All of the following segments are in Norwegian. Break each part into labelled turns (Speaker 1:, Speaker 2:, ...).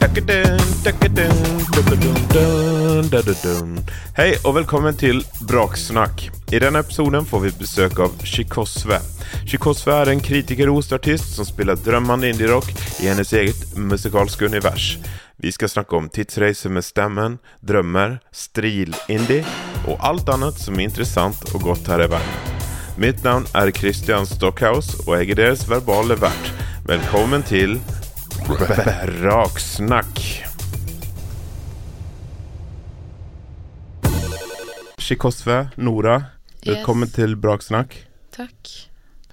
Speaker 1: Dukkadun, dukkadun, dubbladun, dun, dadadun. Hei og velkommen til Braksnakk. I denne episoden får vi besøk av Shikosve. Shikosve er en kritikerrost artist som spiller drømmende indie-rock i hennes eget musikalske univers. Vi skal snakke om tidsreiser med stemmen, drømmer, stril indie og alt annet som er interessant og godt her i verden. Mitt navn er Christian Stockhaus, og jeg er deres verbale vert. Velkommen til Braksnakk. Shikosve, Nora, velkommen til Braksnakk.
Speaker 2: Takk.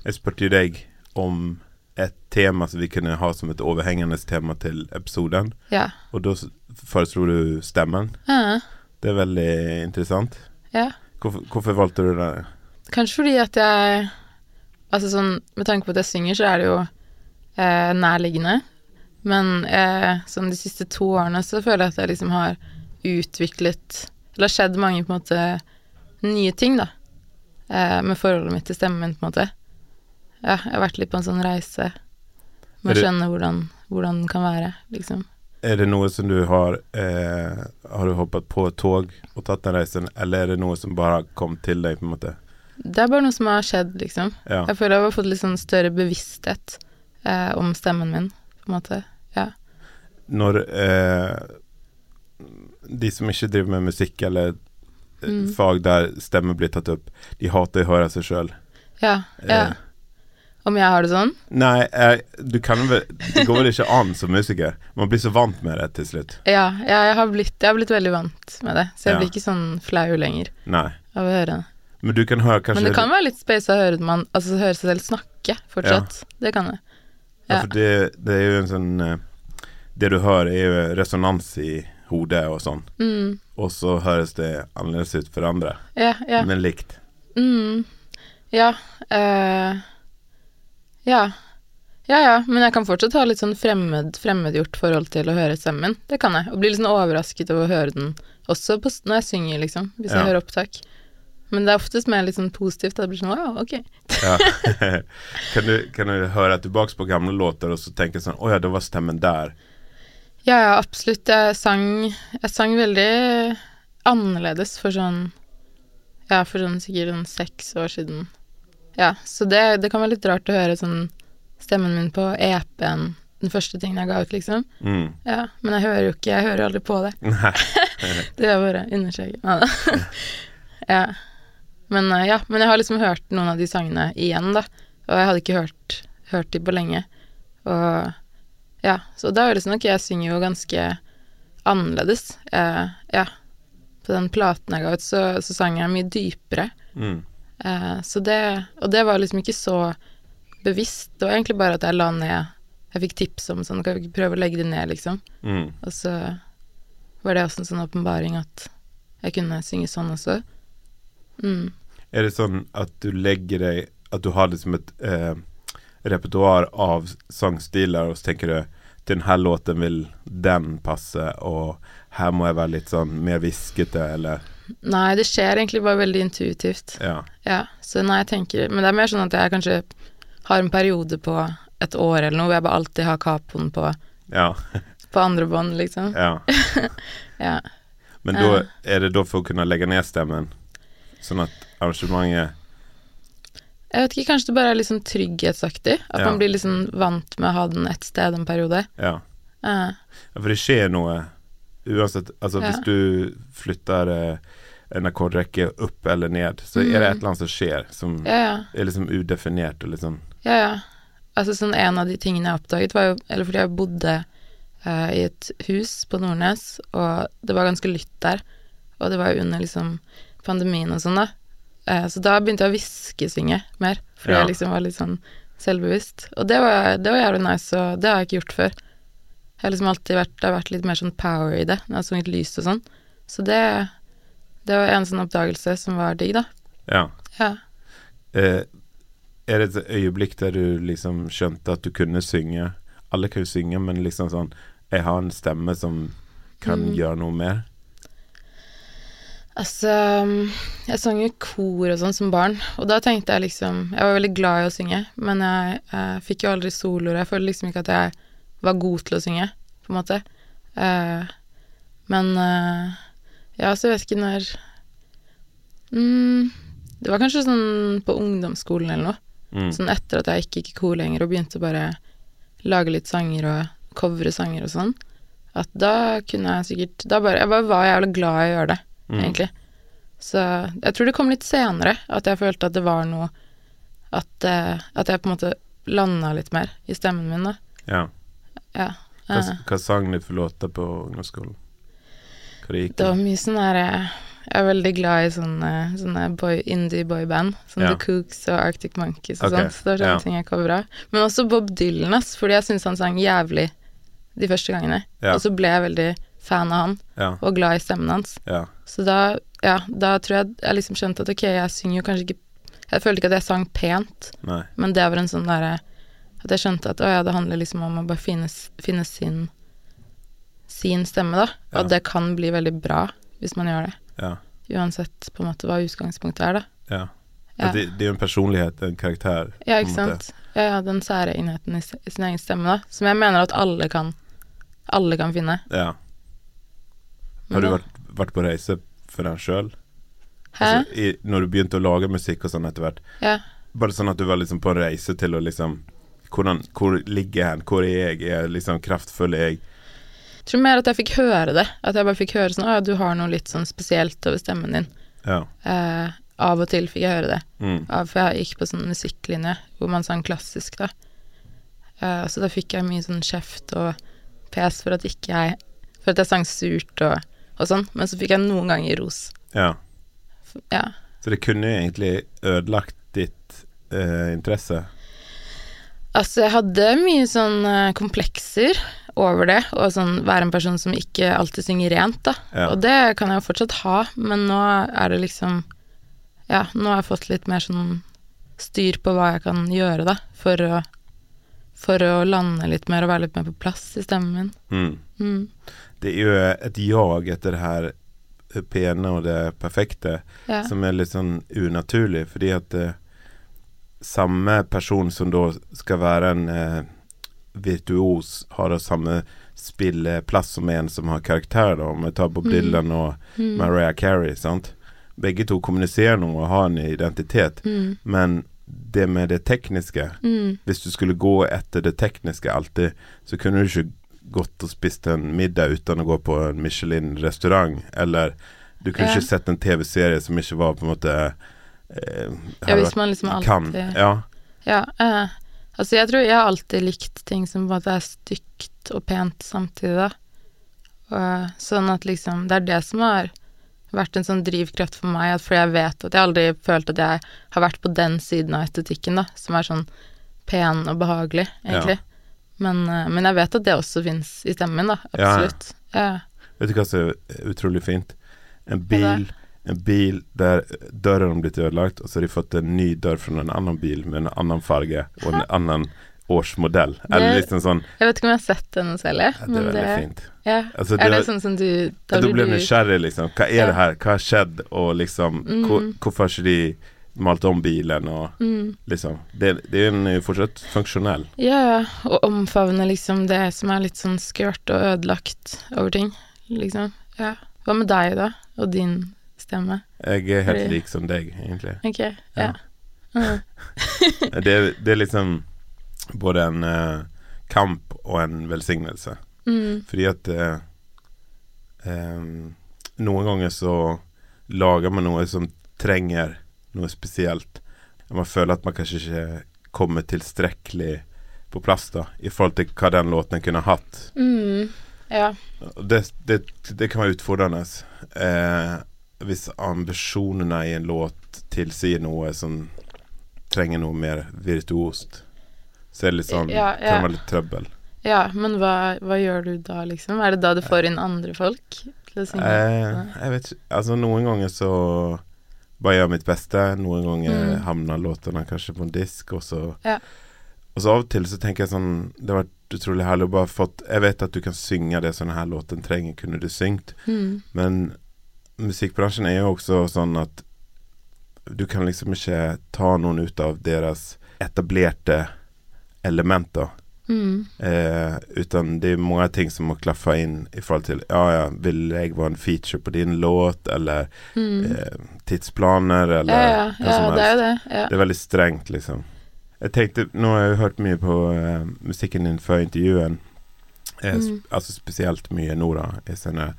Speaker 1: Jeg spurte deg om et tema som vi kunne ha som et overhengende tema til episoden,
Speaker 2: Ja.
Speaker 1: og da s- foreslo du stemmen.
Speaker 2: Ja,
Speaker 1: Det er veldig interessant.
Speaker 2: ja.
Speaker 1: Hvorfor, hvorfor valgte du det?
Speaker 2: Kanskje fordi at jeg Altså sånn, med tanke på at jeg synger, så er det jo eh, nærliggende. Men eh, sånn de siste to årene så føler jeg at jeg liksom har utviklet Eller det har skjedd mange på en måte nye ting, da. Eh, med forholdet mitt til stemmen min, på en måte. Ja, jeg har vært litt på en sånn reise
Speaker 1: Er
Speaker 2: med
Speaker 1: det-
Speaker 2: å skjønne hvordan, hvordan den kan være, liksom.
Speaker 1: Er det noe som du har eh, Har du hoppet på et tog og tatt den reisen, eller er det noe som bare kom til deg, på en måte?
Speaker 2: Det er bare noe som har skjedd, liksom.
Speaker 1: Ja.
Speaker 2: Jeg føler jeg har fått litt sånn større bevissthet eh, om stemmen min, på en måte. Ja.
Speaker 1: når eh, de som ikke driver med musikk eller eh,
Speaker 2: Mm.
Speaker 1: fag der stemmer blir tatt opp, de hater å høre seg sjøl.
Speaker 2: Ja, ja.
Speaker 1: Eh.
Speaker 2: Om jeg har det sånn?
Speaker 1: Nei, eh, du kan vel Det går vel ikke an som musiker. Man blir så vant med det til slutt.
Speaker 2: Ja, ja jeg, har blitt, jeg har blitt veldig vant med det, så jeg
Speaker 1: Ja.
Speaker 2: blir ikke sånn flau lenger
Speaker 1: Nei.
Speaker 2: av å høre det.
Speaker 1: Men du kan høre
Speaker 2: Men
Speaker 1: kanskje
Speaker 2: det kan være litt space å høre, man, altså, høre seg selv snakke fortsatt. Det kan det.
Speaker 1: ja.
Speaker 2: ja.
Speaker 1: for det, det er jo en sånn eh, Det du hører, er jo resonans i hodet og sånn.
Speaker 2: Mm.
Speaker 1: Og så høres det annerledes ut for andre,
Speaker 2: Ja, ja.
Speaker 1: men likt.
Speaker 2: Mm. Ja. eh, ja. Ja, ja, men jeg kan fortsatt ha litt sånn fremmed, fremmedgjort forhold til å høre stemmen min. Det kan jeg. Og bli litt sånn overrasket over å høre den også på, s- når jeg synger, liksom. Hvis
Speaker 1: Ja.
Speaker 2: jeg hører opptak. Men det er oftest mer litt sånn positivt. At det blir sånn wow, ok.
Speaker 1: Ja. kan, du, kan du høre tilbake på gamle låter og så tenke sånn Å ja, da var stemmen der.
Speaker 2: Ja, ja, absolutt. Jeg sang, jeg sang veldig annerledes for sånn Ja, for sånn sikkert sånn seks år siden. Ja, så det, det kan være litt rart å høre sånn stemmen min på EP-en, den første tingen jeg ga ut, liksom.
Speaker 1: Mm.
Speaker 2: Ja, men jeg hører jo ikke Jeg hører aldri på det.
Speaker 1: Nei.
Speaker 2: Det vil jeg bare understreke. Ja, da. ja. Men eh, ja, men jeg har liksom hørt noen av de sangene igjen, da. Og jeg hadde ikke hørt, hørt de på lenge. Og ja, så da er det sånn ok, jeg synger jo ganske annerledes. Eh, ja. På den platen jeg ga ut, så, så sang jeg mye dypere.
Speaker 1: Mm.
Speaker 2: Eh, så det Og det var liksom ikke så bevisst. Det var egentlig bare at jeg la ned Jeg fikk tips om sånn, kan vi ikke prøve å legge det ned, liksom?
Speaker 1: Mm.
Speaker 2: Og så var det også en sånn åpenbaring at jeg kunne synge sånn også. Mm.
Speaker 1: Er det sånn at du legger deg At du har liksom et eh, repertoar av sangstiler, og så tenker du til denne låten vil den passe, og her må jeg være litt sånn mer hviskete, eller
Speaker 2: Nei, det skjer egentlig bare veldig intuitivt.
Speaker 1: Ja.
Speaker 2: Ja, så nei, jeg tenker Men det er mer sånn at jeg kanskje har en periode på et år eller noe hvor jeg bare alltid har capoen på,
Speaker 1: Ja.
Speaker 2: på andre bånd, liksom.
Speaker 1: ja.
Speaker 2: Ja.
Speaker 1: Men da er det da for å kunne legge ned stemmen, sånn at arrangementet
Speaker 2: Jeg vet ikke, kanskje det bare er litt sånn trygghetsaktig? At
Speaker 1: Ja.
Speaker 2: man blir liksom vant med å ha den ett sted en periode.
Speaker 1: Ja.
Speaker 2: Ja.
Speaker 1: Ja, for det skjer noe uansett Altså
Speaker 2: Ja.
Speaker 1: hvis du flytter eh, en akkordrekke opp eller ned, så er det et eller annet som skjer som
Speaker 2: Mm. ja, ja.
Speaker 1: er liksom udefinert og liksom
Speaker 2: Ja, ja. Altså sånn en av de tingene jeg oppdaget var jo Eller fordi jeg bodde eh, i et hus på Nordnes, og det var ganske lytt der. Og det var jo under liksom pandemien og sånn, da. Eh, så da begynte jeg å hviskesynge mer, fordi
Speaker 1: Ja.
Speaker 2: jeg liksom var litt sånn selvbevisst. Og det var, det var jævlig nice, og det har jeg ikke gjort før. Jeg har liksom alltid vært, det har vært litt mer sånn power i det, når jeg har sunget lyst og sånn. Så det, det var en sånn oppdagelse som var digg, da.
Speaker 1: Ja.
Speaker 2: Ja.
Speaker 1: Eh, er det et øyeblikk der du liksom skjønte at du kunne synge? Alle kan jo synge, men liksom sånn Jeg har en stemme som kan
Speaker 2: Mm.
Speaker 1: gjøre noe mer.
Speaker 2: Altså, jeg sang jo i kor og sånn som barn, og da tenkte jeg liksom Jeg var veldig glad i å synge, men jeg, eh, fikk jo aldri soloer. Jeg føler liksom ikke at jeg var god til å synge, på en måte. Eh, men eh, ja, så jeg vet ikke når mm, Det var kanskje sånn på ungdomsskolen eller noe.
Speaker 1: Mm.
Speaker 2: Sånn etter at jeg ikke gikk i kor lenger og begynte å bare lage litt sanger og covre sanger og sånn, at da kunne jeg sikkert Da bare Jeg bare var jævlig glad i å gjøre det,
Speaker 1: Mm.
Speaker 2: egentlig. Så jeg tror det kom litt senere at jeg følte at det var noe At, eh, at jeg på en måte landa litt mer i stemmen min, da.
Speaker 1: Ja.
Speaker 2: Ja.
Speaker 1: Hva,
Speaker 2: Eh,
Speaker 1: hva sang ni for låter på ungdomsskolen? Hva det gikk
Speaker 2: Det var
Speaker 1: i?
Speaker 2: mye sånn her eh, Jeg er veldig glad i sånn, sånne, sånne boy, indie boyband. Som
Speaker 1: Ja.
Speaker 2: The Cooks og Arctic Monkeys og
Speaker 1: Ok,
Speaker 2: sånt. Så det var sånne
Speaker 1: ja.
Speaker 2: ting jeg covra. Men også Bob Dylan, ass, fordi jeg syns han sang jævlig de første gangene.
Speaker 1: Ja.
Speaker 2: Og så ble jeg veldig fan av han,
Speaker 1: Ja.
Speaker 2: og glad i stemmen hans.
Speaker 1: ja.
Speaker 2: Så da, ja, da tror jeg jeg liksom skjønte at ok, jeg synger jo kanskje ikke Jeg følte ikke at jeg sang pent,
Speaker 1: Nei.
Speaker 2: men det var en sånn derre At jeg skjønte at å ja, det handler liksom om å bare finne, s- finne sin sin stemme, da. Og
Speaker 1: Ja.
Speaker 2: at det kan bli veldig bra hvis man gjør det
Speaker 1: Ja.
Speaker 2: uansett på en måte hva utgangspunktet er, da.
Speaker 1: Ja.
Speaker 2: Ja.
Speaker 1: Det, det er jo en personlighet, en karakter.
Speaker 2: Ja,
Speaker 1: på
Speaker 2: ikke
Speaker 1: en måte.
Speaker 2: sant. Ja, ja, den særegenheten i, s- i sin egen stemme, da. Som jeg mener at alle kan alle kan finne.
Speaker 1: Ja. Har du
Speaker 2: Men da-
Speaker 1: vært, vært på reise for den sjøl?
Speaker 2: Hæ?
Speaker 1: når du begynte å lage musikk og sånn etter hvert,
Speaker 2: Ja.
Speaker 1: bare sånn at du var liksom på en reise til å liksom hvordan, Hvor ligger jeg hen? Hvor er jeg? Er jeg liksom kraftfull? Er jeg
Speaker 2: Jeg tror mer at jeg fikk høre det. At jeg bare fikk høre sånn Å ja, du har noe litt sånn spesielt over stemmen din.
Speaker 1: Ja.
Speaker 2: Eh, av og til fikk jeg høre det.
Speaker 1: Mm.
Speaker 2: Ja, for jeg gikk på sånn musikklinje hvor man sang klassisk, da. Eh, så da fikk jeg mye sånn kjeft og pes for at ikke jeg For at jeg sang surt og, og sånn. Men så fikk jeg noen ganger ros.
Speaker 1: ja.
Speaker 2: Ja.
Speaker 1: Så det kunne jo egentlig ødelagt ditt eh, interesse.
Speaker 2: Altså, jeg hadde mye sånn eh, komplekser over det, og sånn være en person som ikke alltid synger rent, da.
Speaker 1: Ja.
Speaker 2: Og det kan jeg jo fortsatt ha, men nå er det liksom Ja, nå har jeg fått litt mer sånn styr på hva jeg kan gjøre, da, for å, for å lande litt mer og være litt mer på plass i stemmen min.
Speaker 1: Mm.
Speaker 2: Mm.
Speaker 1: Det er jo et jag etter det her eh, pene og det perfekte
Speaker 2: Ja.
Speaker 1: som er litt sånn unaturlig, fordi at eh, samme person som da skal være en eh, virtuos, har da samme spilleplass som en som har karakter, da, om vi tar Bob
Speaker 2: Mm.
Speaker 1: Dylan og
Speaker 2: Mm.
Speaker 1: Mariah Carey, sant. Begge to kommuniserer noe og har en identitet,
Speaker 2: Mm.
Speaker 1: men det med det tekniske
Speaker 2: Mm.
Speaker 1: hvis du skulle gå etter det tekniske alltid, så kunne du ikke gått og spist en middag uten å gå på en Michelin-restaurant, eller du kunne
Speaker 2: Ja.
Speaker 1: ikke sett en TV-serie som ikke var på en måte eh,
Speaker 2: Ja,
Speaker 1: hadde
Speaker 2: hvis man liksom
Speaker 1: vært-
Speaker 2: alltid
Speaker 1: kan. Ja,
Speaker 2: Ja. eh, altså, jeg tror jeg har alltid likt ting som på en måte er stygt og pent samtidig, da. Og, sånn at liksom Det er det som har vært en sånn drivkraft for meg, at fordi jeg vet at jeg aldri følt at jeg har vært på den siden av estetikken, da, som er sånn pen og behagelig, egentlig. Men, eh, men jeg vet at det også fins i stemmen min, da.
Speaker 1: ja.
Speaker 2: Absolutt. Ja.
Speaker 1: Vet du hva som er utrolig fint? En
Speaker 2: Hva
Speaker 1: bil en bil der døren har blitt ødelagt, og så har de fått en ny dør fra en annen bil med en annen farge og en annen årsmodell. Eller
Speaker 2: Det-
Speaker 1: liksom sånn
Speaker 2: Jeg vet ikke om jeg har sett den selv, jeg.
Speaker 1: ja, Det
Speaker 2: men
Speaker 1: er veldig
Speaker 2: det,
Speaker 1: fint.
Speaker 2: ja.
Speaker 1: Altså,
Speaker 2: er
Speaker 1: det-
Speaker 2: det sånn som du
Speaker 1: Ja, Da blir
Speaker 2: du-
Speaker 1: jeg nysgjerrig, liksom. Hva er
Speaker 2: Ja. Mm.
Speaker 1: det her? Hva har skjedd? Og liksom hvor, Hvorfor har ikke de malt om bilen? Og liksom Det, det er en eh, fortsatt funksjonell.
Speaker 2: Ja, ja. Og omfavne liksom det som er litt sånn skørt og ødelagt over ting, liksom. Ja. Hva med deg, da? Og din stemme?
Speaker 1: Jeg er helt
Speaker 2: Fordi-
Speaker 1: lik som deg, egentlig.
Speaker 2: Ok, ja.
Speaker 1: Ja. Det, er- det er liksom både en eh, kamp og en velsignelse.
Speaker 2: Mm,
Speaker 1: Fordi at eh, ehm, Noen ganger så lager man noe som trenger noe spesielt. Man føler at man kanskje ikke kommer tilstrekkelig på plass da, i forhold til hva den låten kunne hatt.
Speaker 2: mm, ja.
Speaker 1: Og Det, det, det kan være utfordrende. Eh, hvis ambisjonene i en låt tilsier noe som trenger noe mer virtuost, så er det litt sånn,
Speaker 2: Ja, ja.
Speaker 1: kan det være litt trøbbel.
Speaker 2: ja, men hva, hva gjør du da, liksom? Er det da du får inn andre folk til å synge?
Speaker 1: Eh, jeg vet ikke. Altså, noen ganger så bare gjør jeg mitt beste. Noen ganger
Speaker 2: Mm.
Speaker 1: havner låtene kanskje på en disk, og så
Speaker 2: Ja.
Speaker 1: Og så av og til så tenker jeg sånn Det har vært utrolig herlig å bare fått Jeg vet at du kan synge det sånne her låten trenger, kunne du syngt,
Speaker 2: Mm,
Speaker 1: men musikkbransjen er jo også sånn at du kan liksom ikke ta noen ut av deres etablerte elementer.
Speaker 2: Mm.
Speaker 1: Eh, utan det är många ting som har klaffat in i förhållande till, ja, ja, vill jag vara en feature på din låt eller
Speaker 2: Mm.
Speaker 1: eh, tidsplaner
Speaker 2: Ja,
Speaker 1: eller
Speaker 2: ja,
Speaker 1: hva som
Speaker 2: ja, det er
Speaker 1: helst.
Speaker 2: jo det. Ja.
Speaker 1: Det är väldigt strängt liksom. Jag tänkte, nu har jag hört mycket på eh, musiken inför intervjun. Eh, sp-
Speaker 2: Mm.
Speaker 1: Alltså speciellt mycket Nora i, sina,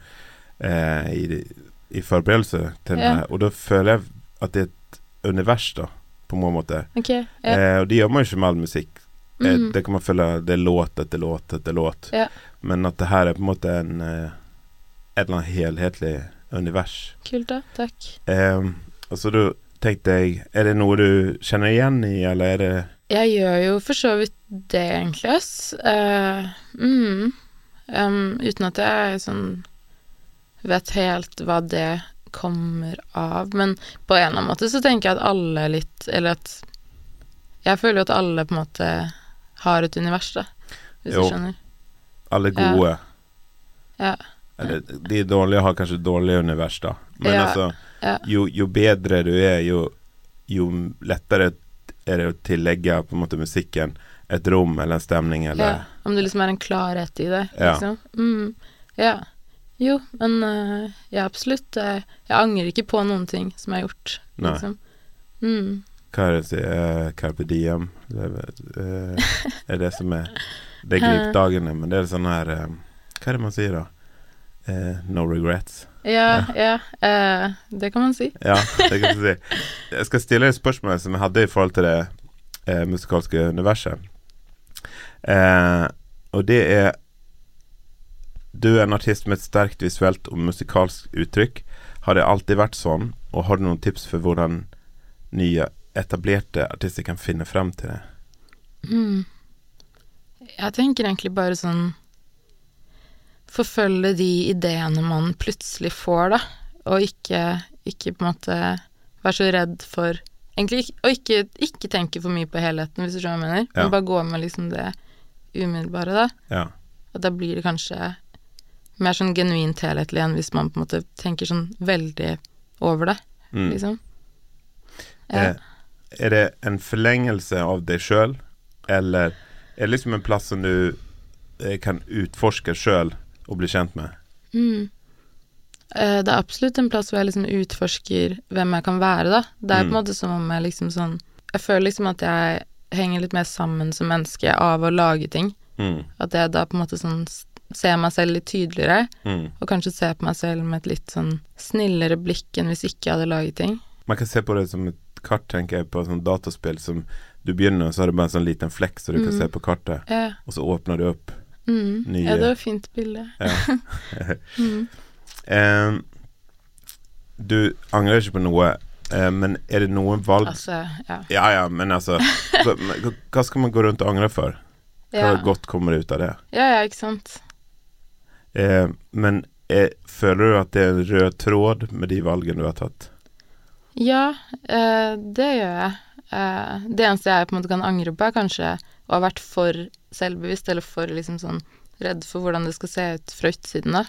Speaker 1: eh, i, i förberedelse till
Speaker 2: Ja.
Speaker 1: den här. Och då följer jag att det är ett univers då, på många måter.
Speaker 2: Ok. Ja.
Speaker 1: Eh, och det gör man ju som all musik. Eh,
Speaker 2: Mm.
Speaker 1: Det kan man följa, det är låt etter låt etter låt.
Speaker 2: Ja.
Speaker 1: Men at det her er på en måte en eh, et eller annet helhetlig univers.
Speaker 2: Kult, da. Takk.
Speaker 1: Eh, og så da tenkte jeg, er det noe du kjenner igjen i, eller er det
Speaker 2: Jeg gjør jo for så vidt det, egentlig, ass. Eh, mm. Em, uten at jeg sånn vet helt hva det kommer av. Men på en eller annen måte så tenker jeg at alle litt Eller at Jeg føler jo at alle på en måte har et univers, da. Hvis
Speaker 1: Jo.
Speaker 2: du skjønner.
Speaker 1: alle gode?
Speaker 2: Ja.
Speaker 1: Eller, de dårlige har kanskje dårlige univers, da. Men
Speaker 2: Ja,
Speaker 1: altså,
Speaker 2: ja.
Speaker 1: jo, jo bedre du er, jo, jo lettere er det å tillegge på en måte musikken et rom eller en stemning eller
Speaker 2: Ja, om det liksom er en klarhet i det,
Speaker 1: Ja.
Speaker 2: liksom. Mm, ja. Jo, men eh, ja, absolutt. eh, jeg angrer ikke på noen ting som jeg har gjort,
Speaker 1: Nei.
Speaker 2: liksom. Mm.
Speaker 1: Hva er det som er eh, Carpe Diem? Det er, vel, eh, er det som er Det er glipdagene, men det er sånn her eh, Hva er det man sier da? Eh, no regrets.
Speaker 2: Ja, ja, eh, det kan man si.
Speaker 1: Ja, det kan du si. Jeg skal stille et spørsmål som jeg hadde i forhold til det eh, musikalske universet. Eh, og det er Du er en artist med et sterkt visuelt og musikalsk uttrykk. Har det alltid vært sånn, og har du noen tips for hvordan nye, etablerte artister kan finne frem til det?
Speaker 2: Mm. Jeg tenker egentlig bare sånn Forfølge de ideene man plutselig får, da. Og ikke, ikke på en måte være så redd for Egentlig ikke, og ikke, ikke tenke for mye på helheten, hvis du skjønner hva jeg mener.
Speaker 1: Ja.
Speaker 2: Men bare gå med liksom det umiddelbare, da.
Speaker 1: Ja.
Speaker 2: Og da blir det kanskje mer sånn genuint helhetlig enn hvis man på en måte tenker sånn veldig over det,
Speaker 1: Mm.
Speaker 2: liksom.
Speaker 1: Er,
Speaker 2: Ja.
Speaker 1: Eh, er det en forlengelse av deg sjøl, eller er det liksom en plass som du eh, kan utforske sjøl og bli kjent med?
Speaker 2: Mm. Eh, Det er absolutt en plass hvor jeg liksom utforsker hvem jeg kan være, da. Det er
Speaker 1: Mm.
Speaker 2: på en måte som om jeg liksom sånn Jeg føler liksom at jeg henger litt mer sammen som menneske av å lage ting.
Speaker 1: Mm,
Speaker 2: At jeg da på en måte sånn s- ser meg selv litt tydeligere,
Speaker 1: mm.
Speaker 2: og kanskje ser på meg selv med et litt sånn snillere blikk enn hvis ikke jeg hadde laget ting.
Speaker 1: Man kan se på det som et kart, tenker jeg, på sånn dataspill som du begynner, og så har du bare en sånn liten flekk så du kan se på kartet,
Speaker 2: Ja,
Speaker 1: og så åpner du opp.
Speaker 2: mm.
Speaker 1: Nye.
Speaker 2: ja det var et fint bilde.
Speaker 1: Eh, du angrer ikke på noe, eh, men er det noen valg
Speaker 2: Altså, ja.
Speaker 1: Ja ja, men altså hva, men hva skal man gå rundt og angre for? Hva
Speaker 2: Ja.
Speaker 1: godt kommer ut av det?
Speaker 2: ja, ja, ikke sant.
Speaker 1: Eh, men eh, føler du at det er en rød tråd med de valgene du har tatt?
Speaker 2: Ja, eh, det gjør jeg. Eh, det eneste jeg på en måte kan angre på, er kanskje å ha vært for selvbevisst, eller for liksom sånn redd for hvordan det skal se ut fra utsiden, da.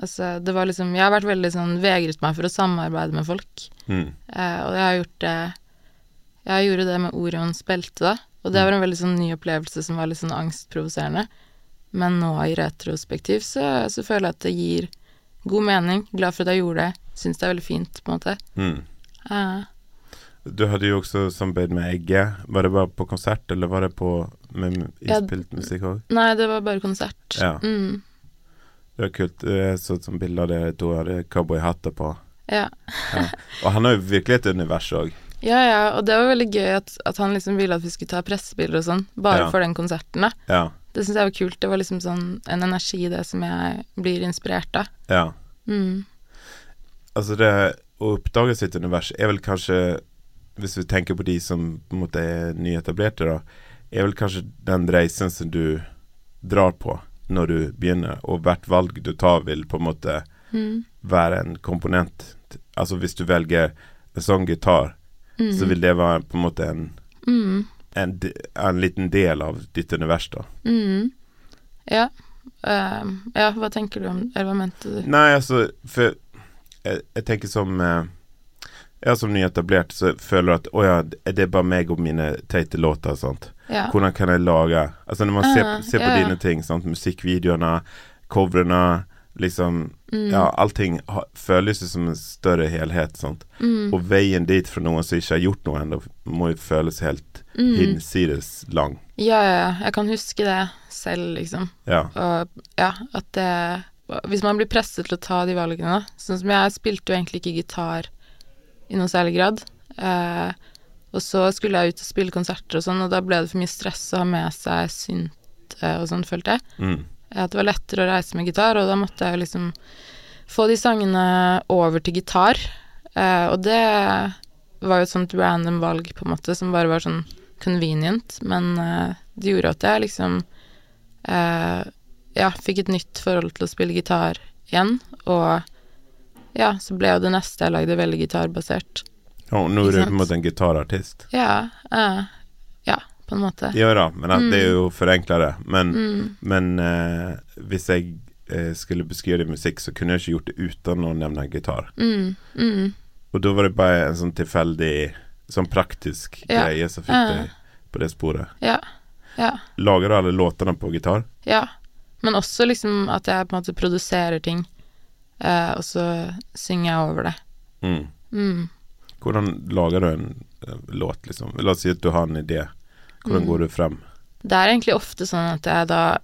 Speaker 2: Altså, det var liksom Jeg har vært veldig sånn Vegret meg for å samarbeide med folk.
Speaker 1: Mm.
Speaker 2: Eh, og jeg har gjort det Jeg gjorde det med Orions belte, da. Og det var en veldig sånn ny opplevelse som var litt sånn angstprovoserende. Men nå i retrospektiv så, så føler jeg at det gir god mening. Glad for at jeg gjorde det. Syns det er veldig fint, på en måte.
Speaker 1: Mm.
Speaker 2: Eh,
Speaker 1: Du hadde jo også samarbeid med Egge. Var det bare på konsert, eller var det på med m-
Speaker 2: Ja,
Speaker 1: innspilt musikk òg?
Speaker 2: Nei, det var bare konsert.
Speaker 1: Ja.
Speaker 2: Mm,
Speaker 1: Det var kult. Jeg så et sånt bilde av dere to hadde cowboyhatter på.
Speaker 2: ja.
Speaker 1: Og han har jo virkelig et univers òg.
Speaker 2: ja, ja, og det var veldig gøy at, at han liksom ville at vi skulle ta pressebilder og sånn, bare
Speaker 1: Ja.
Speaker 2: for den konserten, da.
Speaker 1: Ja.
Speaker 2: Det syns jeg var kult. Det var liksom sånn en energi i det som jeg blir inspirert av.
Speaker 1: ja.
Speaker 2: Mm.
Speaker 1: Altså det å oppdage sitt univers er vel kanskje Hvis vi tenker på de som på en måte er nyetablerte, da, er vel kanskje den reisen som du drar på når du begynner, og hvert valg du tar vil på en måte
Speaker 2: Mm.
Speaker 1: være en komponent. Altså hvis du velger en sånn gitar,
Speaker 2: Mm.
Speaker 1: så vil det være på en måte en,
Speaker 2: Mm.
Speaker 1: en, d- en liten del av ditt univers, da.
Speaker 2: Mm. Ja. Ehm, ja, hva tenker du om Eller hva mente du?
Speaker 1: Nei, altså, for jeg, jeg tenker som eh, ja, som nyetablert, så føler du at å ja, det er bare meg og mine teite låter og sånt.
Speaker 2: Ja.
Speaker 1: Hvordan kan jeg lage Altså når man ser,
Speaker 2: Ah,
Speaker 1: ser på
Speaker 2: ja, ja.
Speaker 1: dine ting, sant? musikkvideoene, coverene, liksom
Speaker 2: Mm.
Speaker 1: Ja, allting ha- føles jo som en større helhet, sant.
Speaker 2: Mm.
Speaker 1: Og veien dit for noen som ikke har gjort noe ennå, må jo føles helt
Speaker 2: Mm.
Speaker 1: hinsides lang.
Speaker 2: Ja, ja, ja. Jeg kan huske det selv, liksom.
Speaker 1: Ja.
Speaker 2: Og ja, at det Hvis man blir presset til å ta de valgene, da. Sånn som jeg spilte jo egentlig ikke gitar i noe særlig grad. Eh, og så skulle jeg ut og spille konserter og sånn, og da ble det for mye stress å ha med seg synt eh, og sånn, følte jeg.
Speaker 1: Mm.
Speaker 2: At det var lettere å reise med gitar, og da måtte jeg jo liksom få de sangene over til gitar. Eh, og det var jo et sånt random valg, på en måte, som bare var sånn convenient, men eh, det gjorde at jeg liksom eh, ja, fikk et nytt forhold til å spille gitar igjen, og ja, så ble jo det neste jeg lagde veldig gitarbasert.
Speaker 1: Og nå
Speaker 2: Ikke
Speaker 1: er du
Speaker 2: sant?
Speaker 1: på en måte en gitarartist.
Speaker 2: Ja, eh, ja, på en måte.
Speaker 1: Ja da, men at det er
Speaker 2: Mm.
Speaker 1: jo forenkla det. Men, men eh, hvis jeg eh, skulle beskrive din musikk, så kunne jeg ikke gjort det uten å nevne gitar.
Speaker 2: Mm, mm,
Speaker 1: Og da var det bare en sånn tilfeldig, sånn praktisk
Speaker 2: Ja.
Speaker 1: greie som fikk
Speaker 2: Ja.
Speaker 1: deg på det sporet.
Speaker 2: ja, ja.
Speaker 1: Lager du alle låtene på gitar?
Speaker 2: Ja, men også liksom at jeg på en måte produserer ting, eh, og så synger jeg over det.
Speaker 1: Mm.
Speaker 2: Mm.
Speaker 1: Hvordan lager du en eh, låt, liksom? La oss si at du har en idé. Hvordan
Speaker 2: Mm.
Speaker 1: går du frem?
Speaker 2: Det er egentlig ofte sånn at jeg da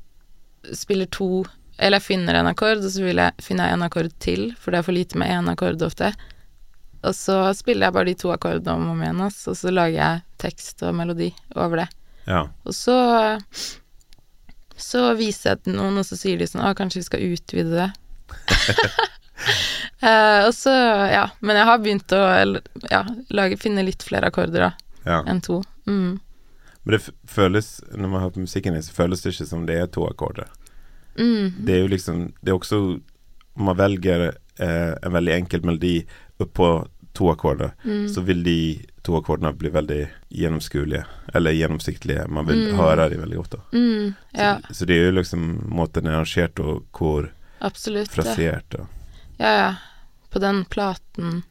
Speaker 2: spiller to Eller jeg finner en akkord, og så vil jeg, finner jeg en akkord til, for det er for lite med én akkord ofte. Og så spiller jeg bare de to akkordene om og om igjen, ass, og så lager jeg tekst og melodi over det.
Speaker 1: Ja.
Speaker 2: Og så så viser jeg til noen, og så sier de sånn Å, kanskje vi skal utvide det. Eh, og så, ja. Men jeg har begynt å eller, ja, lage, finne litt flere akkorder da,
Speaker 1: ja.
Speaker 2: enn to. Mm.
Speaker 1: Men det f- føles, når man hører på musikken din, så føles det ikke som det er to akkorder.
Speaker 2: Mm.
Speaker 1: Det er jo liksom Det er også Om man velger eh, en veldig enkel melodi oppå to akkorder,
Speaker 2: Mm.
Speaker 1: så vil de to akkordene bli veldig gjennomskuelige, eller gjennomsiktige. Man vil høre dem veldig godt. da
Speaker 2: Mm.
Speaker 1: så,
Speaker 2: Ja,
Speaker 1: så det er jo liksom måten den er arrangert, og hvor
Speaker 2: absolutt. Ja,
Speaker 1: frasert og
Speaker 2: ja. På den platen